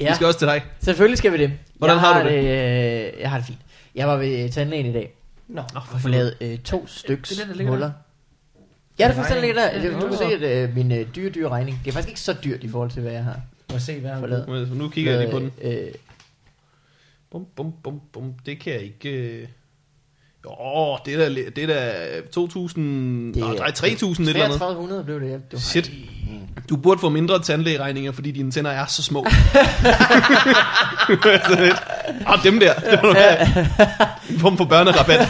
Ja,
vi skal også til dig.
selvfølgelig skal vi det.
Hvordan
jeg
har du
det? øh, jeg har det fint. Jeg var ved tandlægen i dag
Nå,
og får lavet øh, to styks
det, der ligger
huller. Ja, det er faktisk
Nej.
den, der ligger
Ja,
der.
det
Du kan se,
er-
at øh, min øh, dyre, dyre regning, det er faktisk ikke så dyrt i forhold til, hvad jeg har
må jeg se, hvad
fået
er
lavet.
Men Nu kigger jeg lige på den.
Øh, øh,
Bum, bum, bum, bum. Det kan jeg ikke... øh. Jo, det er da, li- det er da 2.000...
Det
Det er,
er-
nej, 3.000 et eller andet.
3300 øh, blev det, ja. Du,
Shit. Du burde få mindre tandlægeregninger, fordi dine tænder er så små. Sådan lidt. Ah, dem der. Det var noget en form for børnerabat.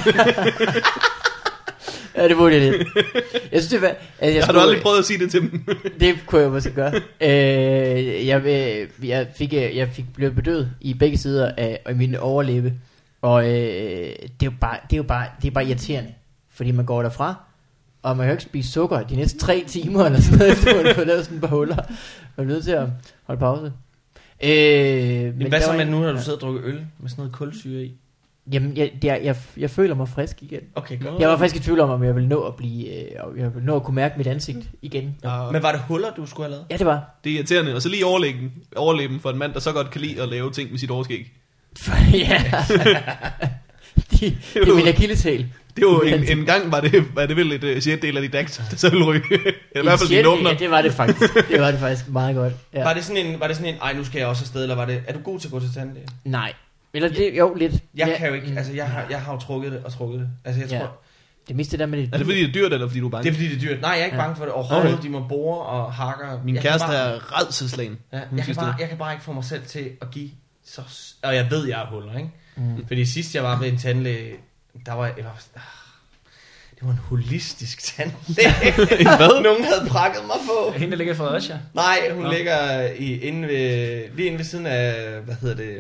Ja, det burde jeg lidt. Jeg synes, det var... Altså, jeg
Har du aldrig prøvet at sige det til dem?
det kunne jeg måske gøre. Øh, jeg, øh, jeg, fik, øh, jeg fik blev bedøvet i begge sider af, af min overlæbe. Og øh, det, er jo bare, det, er jo bare, det er bare irriterende. Fordi man går derfra, og man kan jo ikke spise sukker de næste tre timer, eller sådan noget, efter man har fået lavet sådan et par huller. Man er nødt til at holde pause. Øh, men
Jamen,
der
hvad så
var
med
en-
nu, når du sidder og drukker øl med sådan noget kulsyre i?
Jamen, jeg, jeg, jeg, jeg føler mig frisk igen.
Okay, godt.
Jeg var faktisk i tvivl om, om jeg ville nå at blive, øh, om jeg ville nå at kunne mærke mit ansigt igen.
Men var det huller, du skulle have lavet?
Ja, det var.
Det er irriterende. Og så lige overlæggen, overlæben for en mand, der så godt kan lide at lave ting med sit overskæg.
ja. de, det er min akilleshæl.
Det var en, en gang, var det, var det vel et uh, sjældel af de dags, der så ville ryge. I hvert
En
fald dine
sjældent-
nummer.
Ja, det var det faktisk. Det var det faktisk meget godt.
Ja.
Ja.
Var det sådan en, var det sådan en, ej, nu skal jeg også afsted, eller var det, er du god til at gå til tandlæge?
Nej. Eller det, jo, lidt.
Jeg
ja.
kan jo ikke,
mm.
altså jeg har, jeg har jo trukket det og trukket det. Altså jeg
Ja.
tror,
Det miste der med det.
Er det fordi, det er dyrt, eller fordi du er bange?
det er fordi det er dyrt. Nej, jeg er ikke
Ja.
bange for det overhovedet.
Okay.
De må bore og hakker.
Min
jeg
kæreste
kan bare,
er redselslagen.
ja,
hun
jeg, kan
synes
bare,
det.
jeg kan bare ikke få mig selv til at give så... s- Og jeg ved, jeg er huller, ikke? Mm. Fordi sidst jeg var ved en tandlæge, der var jeg... jeg var, ah, det var en holistisk tandlæge. Hvad? Nogen havde prakket mig på.
Hende, der ligger i Fredericia.
Nej, hun
Nå.
ligger i, inde ved, lige inde ved siden af... Hvad hedder det?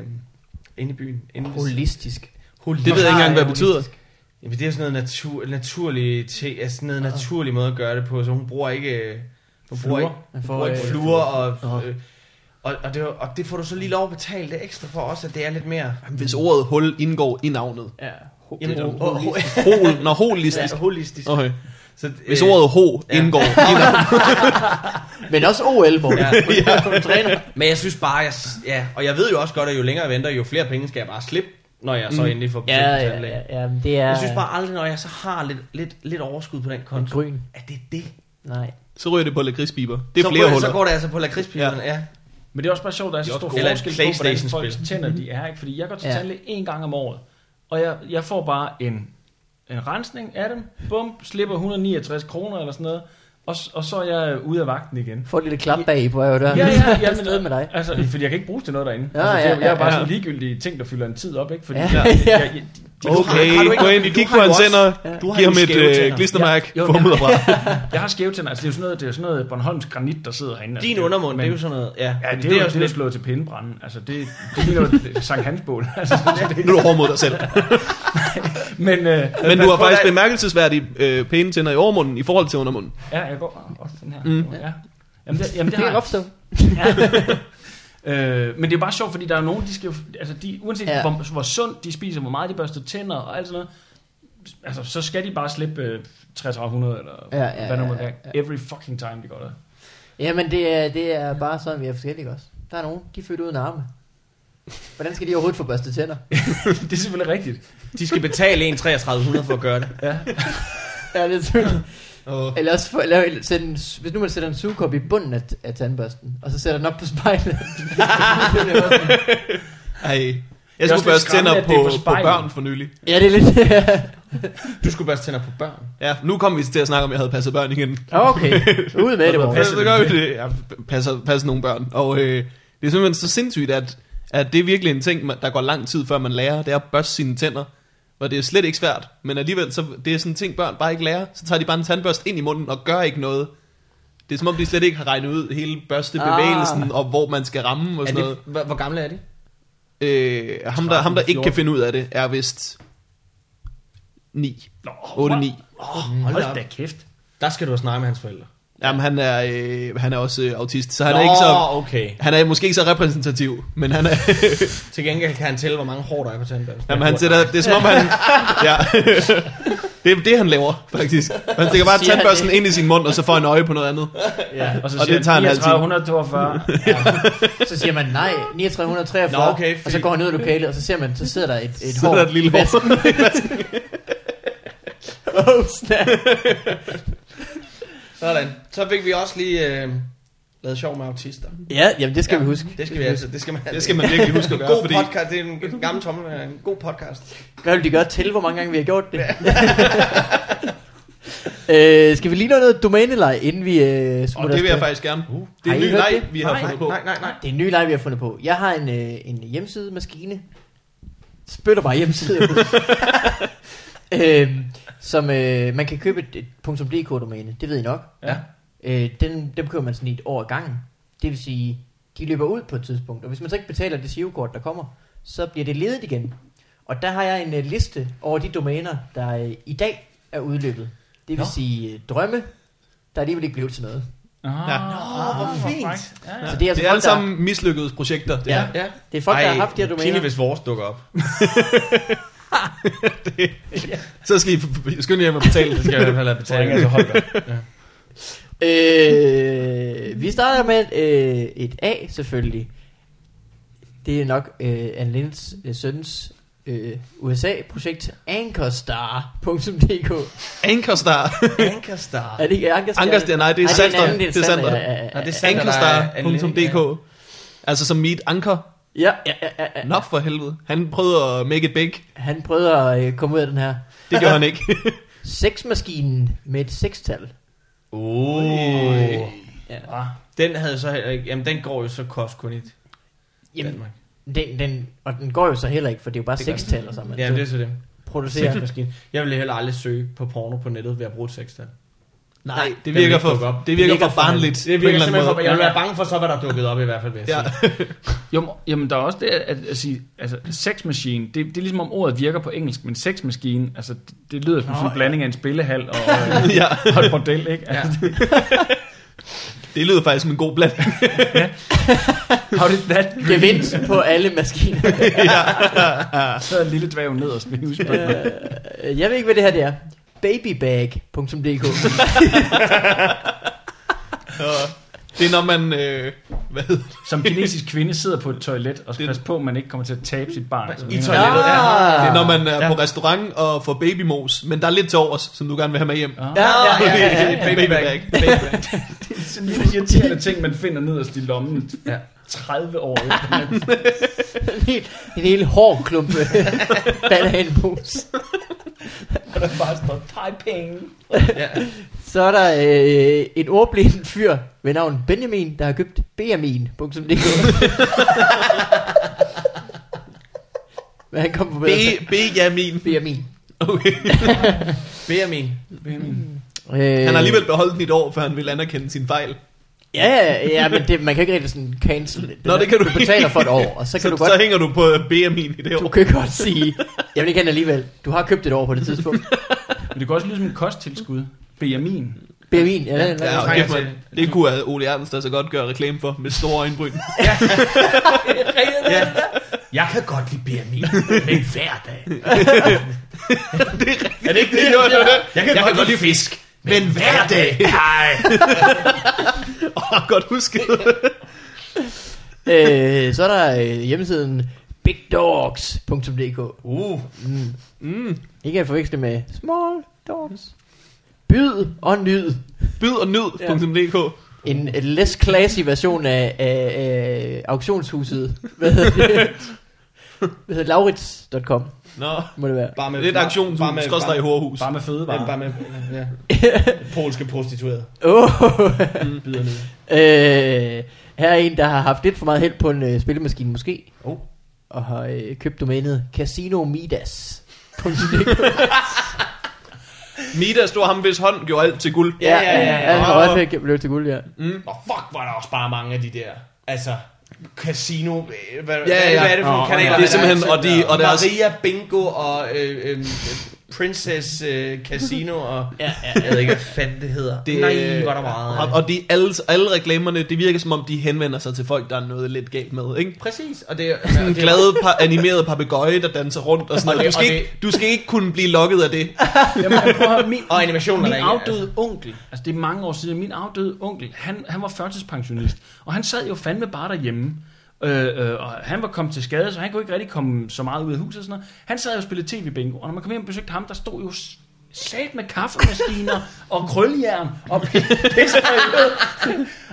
Inde i byen. Inde ved,
Holistisk.
Holistisk.
Det ved jeg ikke engang, hvad det
Holistisk.
betyder.
Jamen, det er sådan noget natur, naturlig, te, altså sådan noget naturlig måde at gøre det på, så hun bruger ikke... øh, Du bruger ikke,
Man
bruger
får,
ikke
øh,
fluer, og,
Nå.
øh, og, og, det, og det får du så lige lov at betale det ekstra for også, at det er lidt mere...
Jamen, hvis ordet hul indgår i navnet.
ja.
Jamen, oh,
det er
og, og, og,
Hol, når holistisk.
ja, holistisk.
Okay.
Så,
Hvis
øh,
ordet ho
ja.
indgår i navnet.
Men også OL, hvor
Ja.
ja. kun træner.
Men jeg synes bare, jeg, ja, og jeg ved jo også godt, at jo længere jeg venter, jo flere penge skal jeg bare slippe, når jeg så endelig får
Ja,
betalt til
ja,
tandlæge.
ja, ja, men det er...
Jeg synes bare aldrig, når jeg så har lidt, lidt, lidt overskud på den
En
konto,
grøn.
at det er det.
Nej.
Så ryger det på lakridspiber. Det er
så,
flere
går,
huller.
så går det altså på lakridspillerne, ja. ja.
Men det er også bare sjovt, at der er så
Det er
stor
også gode.
forskel på,
Eller et
hvordan folks
PlayStation-spil.
tænder de er. Ikke? Fordi jeg går til
Ja.
tandlæge en gang om året, og jeg, jeg får bare en, en rensning af dem. Bum, slipper 169 kroner eller sådan noget. Og, s- og så er jeg ude af vagten igen.
Få et lille klap bag på øvrigt.
Ja, ja, ja,
men noget med dig.
Altså, fordi jeg kan ikke bruge til noget derinde.
Ja,
altså, det er-
ja,
jeg, er
ja,
bare
ja.
sådan ligegyldige ting, der fylder en tid op, ikke? Fordi
Ja.
jeg, jeg,
Ja.
jeg, de-
Har- har du
Okay,
ikke-
gå
fordi
ind,
du
kig
har
på
jo
hans
også-
tænder,
du har
giv
jo
ham et
skæve
øh,
tænder.
klistermærke,
Ja, jo,
få ham
men-
ud af
jeg har skæve tænder. Altså, det er jo sådan noget, det er sådan noget Bornholms granit, der sidder herinde.
Din
Altså,
undermund,
men-
det er jo sådan noget. Ja,
Ja,
Men
det, det er jo
også
sådan lidt
lidt...
slået til pindebranden. Altså, det, det ligner jo Sankt Hansbål. Altså,
Nu er du hård mod dig selv.
men, øh,
Men du har
på,
faktisk
der-
bemærkelsesværdigt øh, pæne tænder i overmunden i forhold til undermunden.
ja, jeg går også sådan her.
Mm.
Ja. Jamen, det, jamen,
Det
det
kan
har
jeg
jeg.
godt forstå.
Øh, men det er bare sjovt, fordi der er nogen, de skal jo, altså de, uanset
Ja.
ja. hvor, hvor sundt de spiser, hvor meget de børster tænder og alt sådan noget, altså så skal de bare slippe øh, 60 eller 100 eller
Ja, ja,
hvad nu
ja,
må
ja,
være. Every fucking time, det går der.
Jamen, det er, det er bare sådan, vi er forskellige også. Der er nogen, de er født uden arme. Hvordan skal de overhovedet få børstet tænder?
det er selvfølgelig rigtigt.
De skal betale 1 3300 for at gøre det.
Ja, det er selvfølgelig.
Åh.
Eller også for, lave, sætte en, hvis nu man sætter en sugekop i bunden af, af tandbørsten, og så sætter den op på spejlet.
Ej. Jeg
Det er også
skulle
lidt
børste
skræmmende,
tænder
at
på,
det er på
på
spejlet.
børn for nylig.
ja, det er lidt...
Du skulle børste tænder på børn.
Ja, nu kom vi til at snakke om, at jeg havde passet børn igen.
okay, ud med det,
Ja,
Morten.
så gør vi det. Jeg passer, passer nogle børn. Og øh, det er simpelthen så sindssygt, at, at det er virkelig en ting, man- der går lang tid, før man lærer. Det er at børste sine tænder. Og det er slet ikke svært. Men alligevel, så, det er sådan en ting, børn bare ikke lærer. Så tager de bare en tandbørst ind i munden og gør ikke noget. Det er som om, de slet ikke har regnet ud hele børstebevægelsen, ah. og hvor man skal ramme og
Er
sådan
det, hvor, hvor gamle er de?
noget. Øh, ham, der, ham, der ikke
13-14.
kan finde ud af det, er vist 9.
Nå,
8-9.
Hold,
Hold da
hold
op.
da kæft.
Der skal du have snakket med hans forældre.
Jamen, han er, øh, han er også øh, autist, så han er ikke så...
okay.
Han er måske ikke så repræsentativ, men han er...
Til gengæld kan han tælle, hvor mange hår der er på tandbørsten.
Jamen, han sætter, det er som om han... Ja. Det er det, han laver, faktisk. Han stikker bare
Siger han
tandbørsten
det?
ind i sin mund, og så får han øje på noget andet.
Ja.
Og så
Og
siger
det tager en halv time.
142.
Så siger man nej, 3943,
Nå, okay,
og
fordi-
så går han ud af lokalet, og så ser man, så sidder der et, et
Så
hår.
er der et lille hår.
Oh, snap.
Sådan. Så fik vi også lige øh, lavet sjov med autister.
Ja, jamen det skal ja. vi huske.
Det skal vi altså. Det skal man,
Det skal man virkelig huske at
en
gøre,
god
fordi...
podcast. Det er en, en gammel tommel. øh, En god podcast.
Hvad vil de gøre til, hvor mange gange vi har gjort det? øh, skal vi lige nå noget domænelej, inden vi øh,
Og
smutter
det vil jeg
afsted?
faktisk gerne.
Har
Det er en
I
ny
hørt
leg,
det?
vi har
nej,
fundet på.
nej, nej, nej.
Det er en ny leg, vi har fundet på. Jeg har en, øh, en hjemmesidemaskine. Spytter bare hjemmesider ud. øhm, som øh, man kan købe et, et .dk-domæne. Det ved I nok.
Ja.
Øh, den, dem køber man sådan i et år ad gangen. Det vil sige, de løber ud på et tidspunkt. Og hvis man så ikke betaler det SIO-kort, der kommer, så bliver det ledigt igen. Og der har jeg en øh, liste over de domæner, der øh, i dag er udløbet. Det vil
Nå.
sige øh, drømme, der alligevel ikke blev til noget.
Ah,
Ja.
Åh, hvor fint.
Ja, ja.
Så det er altså
Det er
folk,
alle
der,
sammen mislykkedes projekter. Det
Ja.
her.
Ja.
det er folk, der har haft de her
Pinligt,
domæner.
hvis vores dukker op.
Så skal I f- skynde jer hjem og betale.
Det skal jeg i hvert fald have
Jeg ringer
betalt.
altså Holger.
Øh, vi starter med øh, et A selvfølgelig. Det er nok øh, Anne Linds øh, søns øh, USA-projekt anchorstar.dk.
Anchorstar.
Ankerstar.
Er det ikke Anchorstar?
Anchorstar, nej, det er
Ej, en
Sandra.
anden,
Det er Sandra.
Ja, ja,
Nå,
ja,
det er Sandra, der er
Anchorstar.dk Altså som mit anker.
ja, ja, ja, ja, ja.
Nå for helvede. Han prøvede at make it big.
Han prøvede at øh, komme ud af den her.
Det gjorde han ikke.
Sexmaskinen med et sekstal.
Oh.
Ja.
Ah,
Den havde så heller ikke... Jamen, den går jo så kost kun i
Jamen,
Danmark.
den, den, og den går jo så heller ikke, for det er jo bare
Det gør den.
sekstal, og så man
Jamen, det er så det.
producerer.
Sexmaskine. Jeg ville heller aldrig søge på porno på nettet ved at bruge et sextal.
Nej, det virker
den vil ikke dukke op.
for, det virker for barnligt.
Det
på en
virker
eller anden
simpelthen for,
måde.
jeg ville være bange for så, hvad der dukkede op i hvert fald, vil jeg
Ja.
sige.
Jo, men- jamen der er også det at, at, at sige, altså sex machine, det, det er ligesom om ordet virker på engelsk, men sex machine, altså det, det lyder som
Nå,
sådan en
ja.
blanding af en spillehal og, øh,
ja.
og et bordel, ikke?
Ja.
Altså,
Det lyder faktisk som en god blanding.
How did that
Gevinst på alle maskiner.
Så er lille dvæv nederst ved husbønden.
Øh, jeg ved ikke, hvad det her det er. Babybag.dk
Det er når man... Øh, hvad hedder det?
Som kinesisk kvinde sidder på et toilet og skal passe på, at man ikke kommer til at tabe sit barn. Altså, Så
I
hænger-
toilet. toilettet, ja.
Ah.
Det er når man er
Ja.
på restaurant og får babymos, men der er lidt til overs, som du gerne vil have med hjem.
Ja, ja, ja, ja, ja, ja.
Babybag. Babybag.
Det er sådan en lille irriterende ting, man finder nederst i lommen
Ja.
30 år efter. Man-
En hel, en hel hård klump bananpose.
Og der bare står, tag penge.
ja.
Så er der øh, en ordblind fyr ved navn Benjamin, der har købt Benjamin.dk Men han kom på bedre tanker.
Be- Benjamin.
Benjamin.
Okay.
Benjamin.
Øh,
Han har alligevel beholdt den i et år, før han vil anerkende sin fejl.
Ja, Øh, ja, ja, men det, man kan ikke rigtig sådan cancel det.
Nå, det kan du
Du betaler for et år, og så
Så,
kan
så,
du godt...
hænger du på Benjamin i det
Du
år.
kan godt sige, jeg vil ikke have den alligevel. Du har købt et år på det tidspunkt.
Men det kan også lyde som en kosttilskud. Benjamin.
Benjamin, ja, ja, ja.
Ja,
trænger
okay, man. Det kunne have Ole Ernst altså godt gøre reklame for med store øjenbryn.
Ja. Jeg kan godt lide Benjamin, men hver dag.
er det ikke det, jo, det, var det?
Jeg kan, jeg godt, godt lide fisk, men hver dag. Nej.
Åh, godt husket.
Øh, så er der øh, hjemmesiden bigdogs.dk
Uh.
mm. Ikke at forveksle med small dogs. Byd og nyd.
Byd og nyd.dk.
En øh, less classy version af, af, af auktionshuset. Hvad hedder det? Hvad hedder Laurits.com
Nå,
må det være.
Bare
lidt aktion,
bare med,
skal også i
bare,
Hårhus.
Bare med fødevarer.
bare, bare med ja. polske prostituerede.
Oh.
Byder ned.
Øh, her er en, der har haft lidt for meget held på en øh, spillemaskine måske.
Oh.
Og har øh, købt domænet Casino Midas.
Midas, du ham, hvis hånd gjorde alt til guld.
Ja, ja, ja, ja.
Han har også fik- blev til guld, ja.
Og fuck, var der også bare mange af de der. Altså, casino, øh, hvad, ja,
ja.
ja. hvad er det for nogle
Åh,
kanaler?
ja. Det er simpelthen- og de- og
og
deres-
Maria Bingo og øh, øh, Princess øh, Casino og...
Ja,
Jeg ved ikke, hvad fanden det hedder. Det, Nej, var der meget.
øh, Og, og de, alle, alle reklamerne, det virker som om, de henvender sig til folk, der er noget lidt galt med, ikke?
Præcis, og det er...
En glad par, animeret papegøje der danser rundt og sådan noget. Du skal, ikke, du skal ikke kunne blive lokket af det.
altså-
Jamen, prøv at høre, min,
Og animationer,
Min
der ikke er,
afdøde altså. onkel, altså det er mange år siden, min afdøde onkel, han, han var førtidspensionist, og han sad jo fandme bare derhjemme. Øh, øh, og han var kommet til skade, så han kunne ikke rigtig komme så meget ud af huset og sådan noget. Han sad jo og spillede tv-bingo, og når man kom hjem og besøgte ham, der stod jo s- sat med kaffemaskiner og krøljern og pisseriød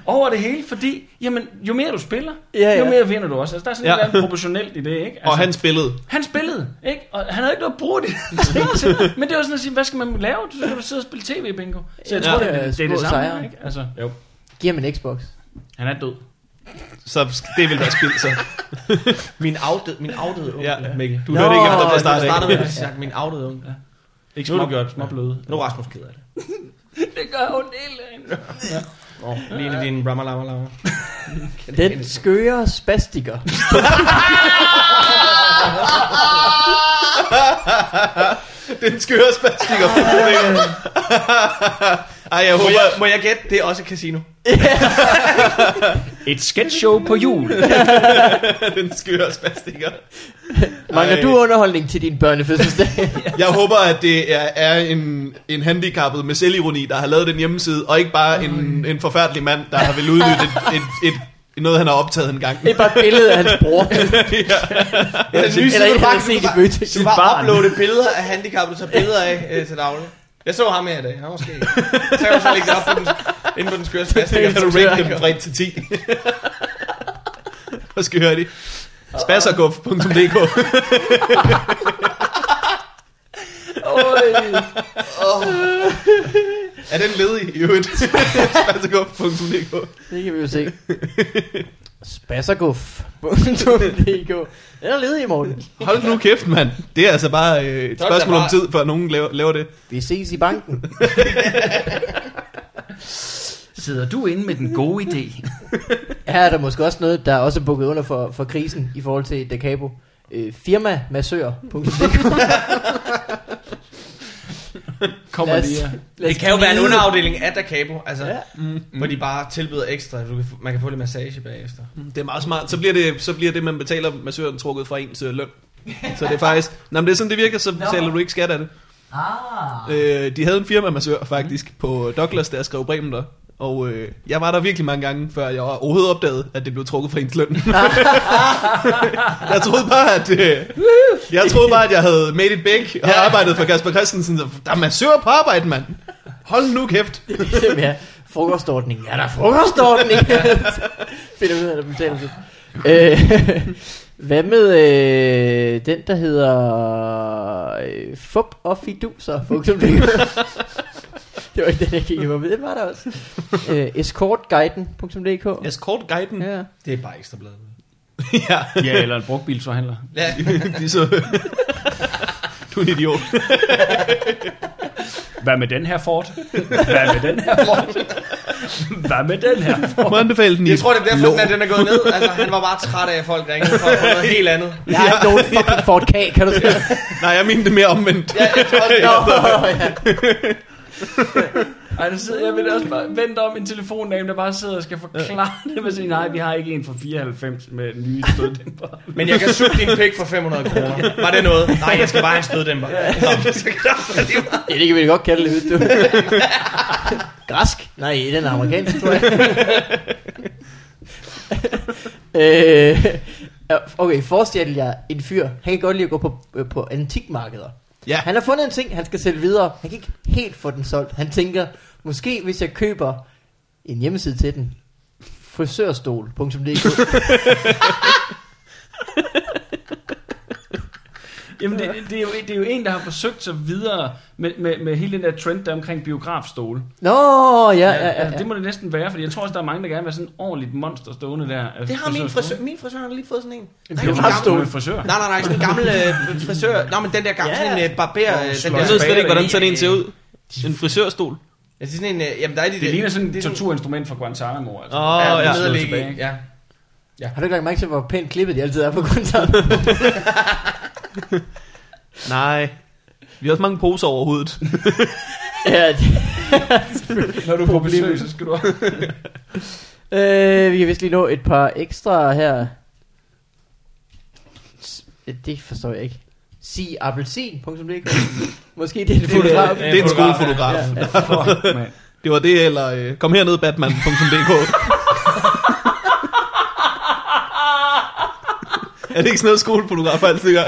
over det hele, fordi jamen, jo mere du spiller,
Ja, ja.
jo mere vinder du også. Altså, der er sådan ja.
Ja.
et eller andet proportionelt i det, ikke? Altså,
Og han spillede.
han spillede, ikke? Og han havde ikke noget at bruge det til. Men det var sådan at sige, hvad skal man lave? Du skal du sidde og spille tv-bingo. Så jeg
Ja.
tror, det, er, det, er
Små
det samme,
sejre.
ikke? Altså, jo.
Giv ham en Xbox.
Han er død.
Så sk- det vil være spild, så.
altså. Min afdøde, min afdøde onkel.
Ja.
Mikkel.
Du hørte ikke efter fra
Jeg
starten.
starter
af.
med at sige, min afdøde onkel.
Ikke
Nu er
små,
det gjort.
små bløde.
Nu er Rasmus ked af det.
Det gør ondt hele dagen.
Oh, lige en af dine rammer, lammer, lammer.
Den skøre spastiker.
Den skøre spastiker. Ej, jeg
Må
håber...
jeg, må jeg gætte? Det er også et casino.
Et sketch show på jul.
Den skøre spastiker.
Mangler
Ej.
du underholdning til din børnefødselsdag?
Jeg håber, at det er, er en, en handicappet med selvironi, der har lavet den hjemmeside, og ikke bare en, en forfærdelig mand, der har vil udnytte et, et, et, noget, han har optaget en gang.
det er bare et billede af hans bror.
Eller
Eller ikke
bare,
har set i
du
Føtex.
kan bare, bare uploade billeder af handicap, du tager billeder af øh, til daglig. Jeg så ham her i dag. Han var skæg. Så kan du så lægge det op på den, inden på den skøre spastiker.
Så kan du rate dem fra 1 til 10. Hvor skal høre det? Spasserguf.dk Er den ledig i øvrigt? Spasserguf.dk
Det kan vi jo se. Spasserguf.dk Den er ledig i morgen.
Hold nu kæft, mand. Det er altså bare øh, et
Så er det
spørgsmål
da
om
bare-
tid, før nogen laver, laver det.
Vi ses i banken.
Sidder du inde med den gode idé?
Her er der måske også noget, der er også bukket under for, for krisen i forhold til Da Capo. Øh, firmamassør.dk
Kommer
Lad os-
lige her.
lad os
Det kan jo være en
gnide.
underafdeling af Dacabo, altså,
Ja.
ja. mm. hvor de bare tilbyder ekstra. Du kan, få- man kan få lidt massage bagefter.
Det er meget smart. Så bliver det, så bliver det man betaler massøren trukket fra ens øh, løn. Så det er faktisk... Nå, men det er sådan, det virker, så betaler du ikke skat af det.
Ah.
Øh, de havde en firmamassør faktisk på Douglas, der skrev Bremen der. Og øh, jeg var der virkelig mange gange, før jeg overhovedet opdagede, at det blev trukket fra ens løn. jeg troede bare, at... Øh, jeg troede bare, at jeg havde made it big og arbejdet for Kasper Christensen. Så, der er massør på arbejde, mand! Hold nu kæft!
Jamen ja, frokostordning. Ja, der er frokostordning. Finder ud af, at der betaler sig. Øh, hvad med øh, den, der hedder øh, Fup og Fiduser? punktum dk? det var ikke den, jeg kiggede på, men den var der også. Øh, escortguiden.dk
Escortguiden.
Ja.
Det er bare ekstra blad.
ja.
Ja, eller en brugtbilsforhandler.
Ja.
de så... du er en idiot.
Hvad med den her Ford? Hvad med den her Ford? Hvad med den her Ford?
Må anbefale den i
Jeg tror, det er derfor,
låg.
at den er gået ned. Altså, han var bare træt af, at folk ringede for at få noget helt andet.
Jeg har ikke nogen fucking Ford K, kan du se?
Nej, jeg mente det mere omvendt.
Ja, jeg tror, det
Nå,
er.
ja.
Ej, der sidder jeg vil også bare vente om en telefondame, der bare sidder og skal forklare det med sin nej, vi har ikke en fra 94 med nye støddæmper.
Men jeg kan suge din pik for 500 kroner. Var det noget? Nej, jeg skal bare have en støddæmper. Nå, så kan jeg- det var-
ja, det kan vi da godt kalde det, ved du. Græsk? Nej, den er amerikansk, tror jeg. øh, ja, okay, forestil jer en fyr. Han kan godt lide at gå på, øh, på antikmarkeder.
Ja.
Han har fundet en ting, han skal sælge videre. Han kan ikke helt få den solgt. Han tænker, måske hvis jeg køber en hjemmeside til den, frisørstol.dk
Jamen, det, det, er jo, det er jo en, der har forsøgt sig videre med, med, med hele den der trend, der er omkring biografstole. Altså,
Nå, ja, ja, ja, ja.
Det må det næsten være, for jeg tror også, der er mange, der gerne vil have sådan en ordentligt monster stående der. øh,
Det har min frisør,
frisørstole.
min frisør har lige fået sådan en.
En
Nej,
Det er jo
gammel-
bare stående med en frisør.
Nej, nej, nej, sådan en gammel øh, frisør. Nå, men den der gamle,
Ja.
sådan en øh, barber. Øh, den der
Jeg ved slet
spader
ikke, hvordan
i,
sådan en
øh,
ser ud. En frisørstol.
Ja, det er sådan en, øh, jamen der er de der-
Det ligner sådan
det er
et torturinstrument fra Guantanamo. Altså.
Åh,
Ja,
ja.
ja.
Slå
Nederlig,
tilbage.
ja.
Har du ikke lagt mærke til, hvor pænt klippet de altid er på kontoret?
Nej. Vi har også mange poser over hovedet.
ja, det,
Når du er på besøg, så skal du
Øh, vi kan vist lige nå et par ekstra her. S- Det forstår jeg ikke. Sig appelsin.dk Måske det er en fotograf.
Det er en skolefotograf.
Fuck, mand.
Det var det, eller øh, kom herned, batman.dk. er det ikke sådan noget skolefotografer altid gør?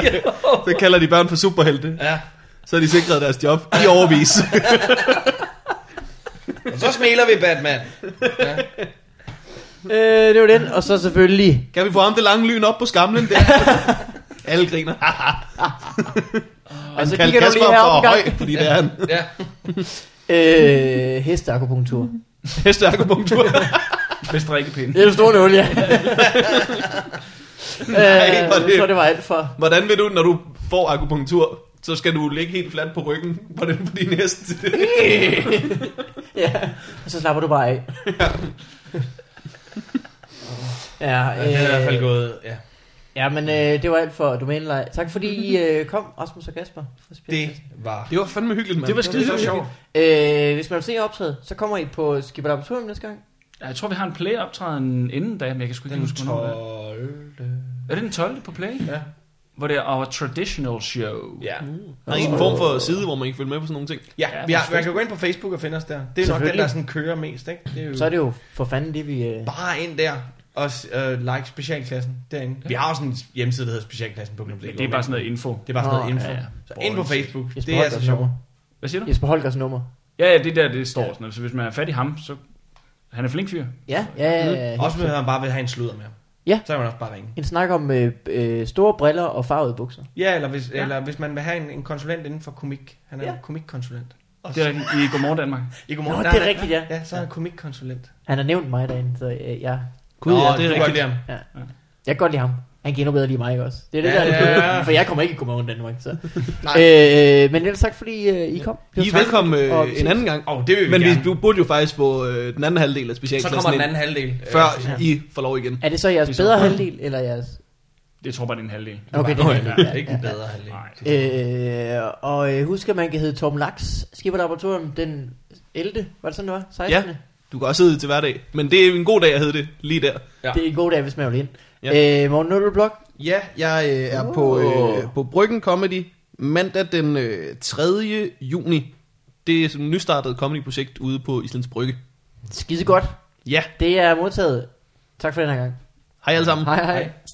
Så kalder de børn for superhelte.
Ja.
Så er de sikret deres job i overvis.
Og så smiler vi Batman.
Øh, det var den, og så selvfølgelig.
kan vi få ham det lange lyn op på skamlen? Der? Alle griner.
Og så
Kald
kigger du
Kasper
lige
op for
heroppe en
høj,
gang.
fordi det er han.
Ja.
Øh, hesteakupunktur.
Heste akupunktur.
Med strikkepinde.
Det er du store olie.
Nej, hvor er det-
Jeg tror, det var alt for.
Hvordan vil du, når du får akupunktur, så skal du ligge helt fladt på ryggen på, den, på din hest?
ja, og så slapper du bare af. ja, øh,
ja. Det er i hvert
Øh,
fald gået, ja.
Ja, men øh, det var alt for domænelej. Tak fordi I øh, kom, Rasmus og Kasper. fra Spirituelt.
Det var...
Det var fandme hyggeligt, mand.
Det var
skide
skide sjovt.
Øh, hvis man vil se optaget, så kommer I på Skipper Laboratorium næste gang.
Ja, Jeg tror, vi har en play-optræden inden da, men jeg kan sgu ikke
Den
huske, hvornår det er.
12.
Er det den 12. på play?
Ja.
Hvor det er our traditional show.
Ja.
Der er en form for side, hvor man ikke følger med på sådan nogle ting.
Ja, vi har, man kan gå ind på Facebook og finde os der. Det er nok den, der sådan kører mest, ikke? Det er jo
Så er det jo for fanden det, vi... Øh...
bare ind der og øh, like specialklassen derinde. Vi har også en hjemmeside, der hedder specialklassen på
Men det er bare sådan noget info.
Det er bare sådan noget
Nå,
info.
ja, ja.
Så ind på Facebook.
Jeg
Det er
spørger
altså
dig
sjovt.
Hvad siger du?
Jesper Holgers nummer.
Ja, ja, det der, det står sådan. noget. Så hvis man er fat i ham, så... Han er flink fyr.
Ja, ja, ja, ja.
Også hvis man bare vil have en sludder med.
Ja.
Så kan man også bare ringe.
En snak om øh, øh, store briller og farvede bukser.
Ja, eller hvis,
Ja.
ja. eller hvis man vil have en, en konsulent inden for komik. Han er
Ja.
ja. komikkonsulent. Og
Det er rigtigt. i Godmorgen Danmark.
I
Nå,
godmorgen.
det
Nej,
er
nej.
rigtigt, ja.
Ja, så er han komikkonsulent.
Han har nævnt mig derinde, så øh, jeg,
Gud, ja, det er rigtigt.
Godt,
jeg kan godt lide ham. Han kan endnu bedre lide mig ikke også. Det er det
Ja,
der,
ja, ja.
for jeg kommer ikke i Godmorgen Danmark. Så.
Nej.
øh, men ellers tak, fordi øh, I kom. Det var
I er
tak.
velkommen
Og
øh,
ses.
en anden gang.
Åh, oh, det vil vi
Men vi,
gerne.
du burde jo faktisk få øh, den anden halvdel af
så
specialklassen
kommer den
ind,
anden halvdel.
før
Øh,
I får lov igen.
Er det så jeres
Det er så-
bedre halvdel, eller jeres...
Jeg tror bare, det er en halvdel.
Okay, det
bare,
er det.
ja.
Ikke den bedre halvdel.
Nej.
Øh, og øh, husk, at man kan hedde Tom Laks, skipper laboratorium den 11. Var det sådan, det var? 16. Ja.
Du kan også hedde det til hverdag. Men det er en god dag, jeg hed det lige der.
Ja.
Det er en god dag, hvis man vil ind. Ja.
Ja.
Øh, Morten Nuttelblok,
Ja, jeg øh, er på, øh, på Bryggen Comedy mandag den øh, 3. juni. Det er sådan et nystartet comedyprojekt ude på Islands Brygge.
skide godt.
Ja,
Det er modtaget. Tak for den her gang.
hej alle sammen.
Hej hej. hej.
Hej.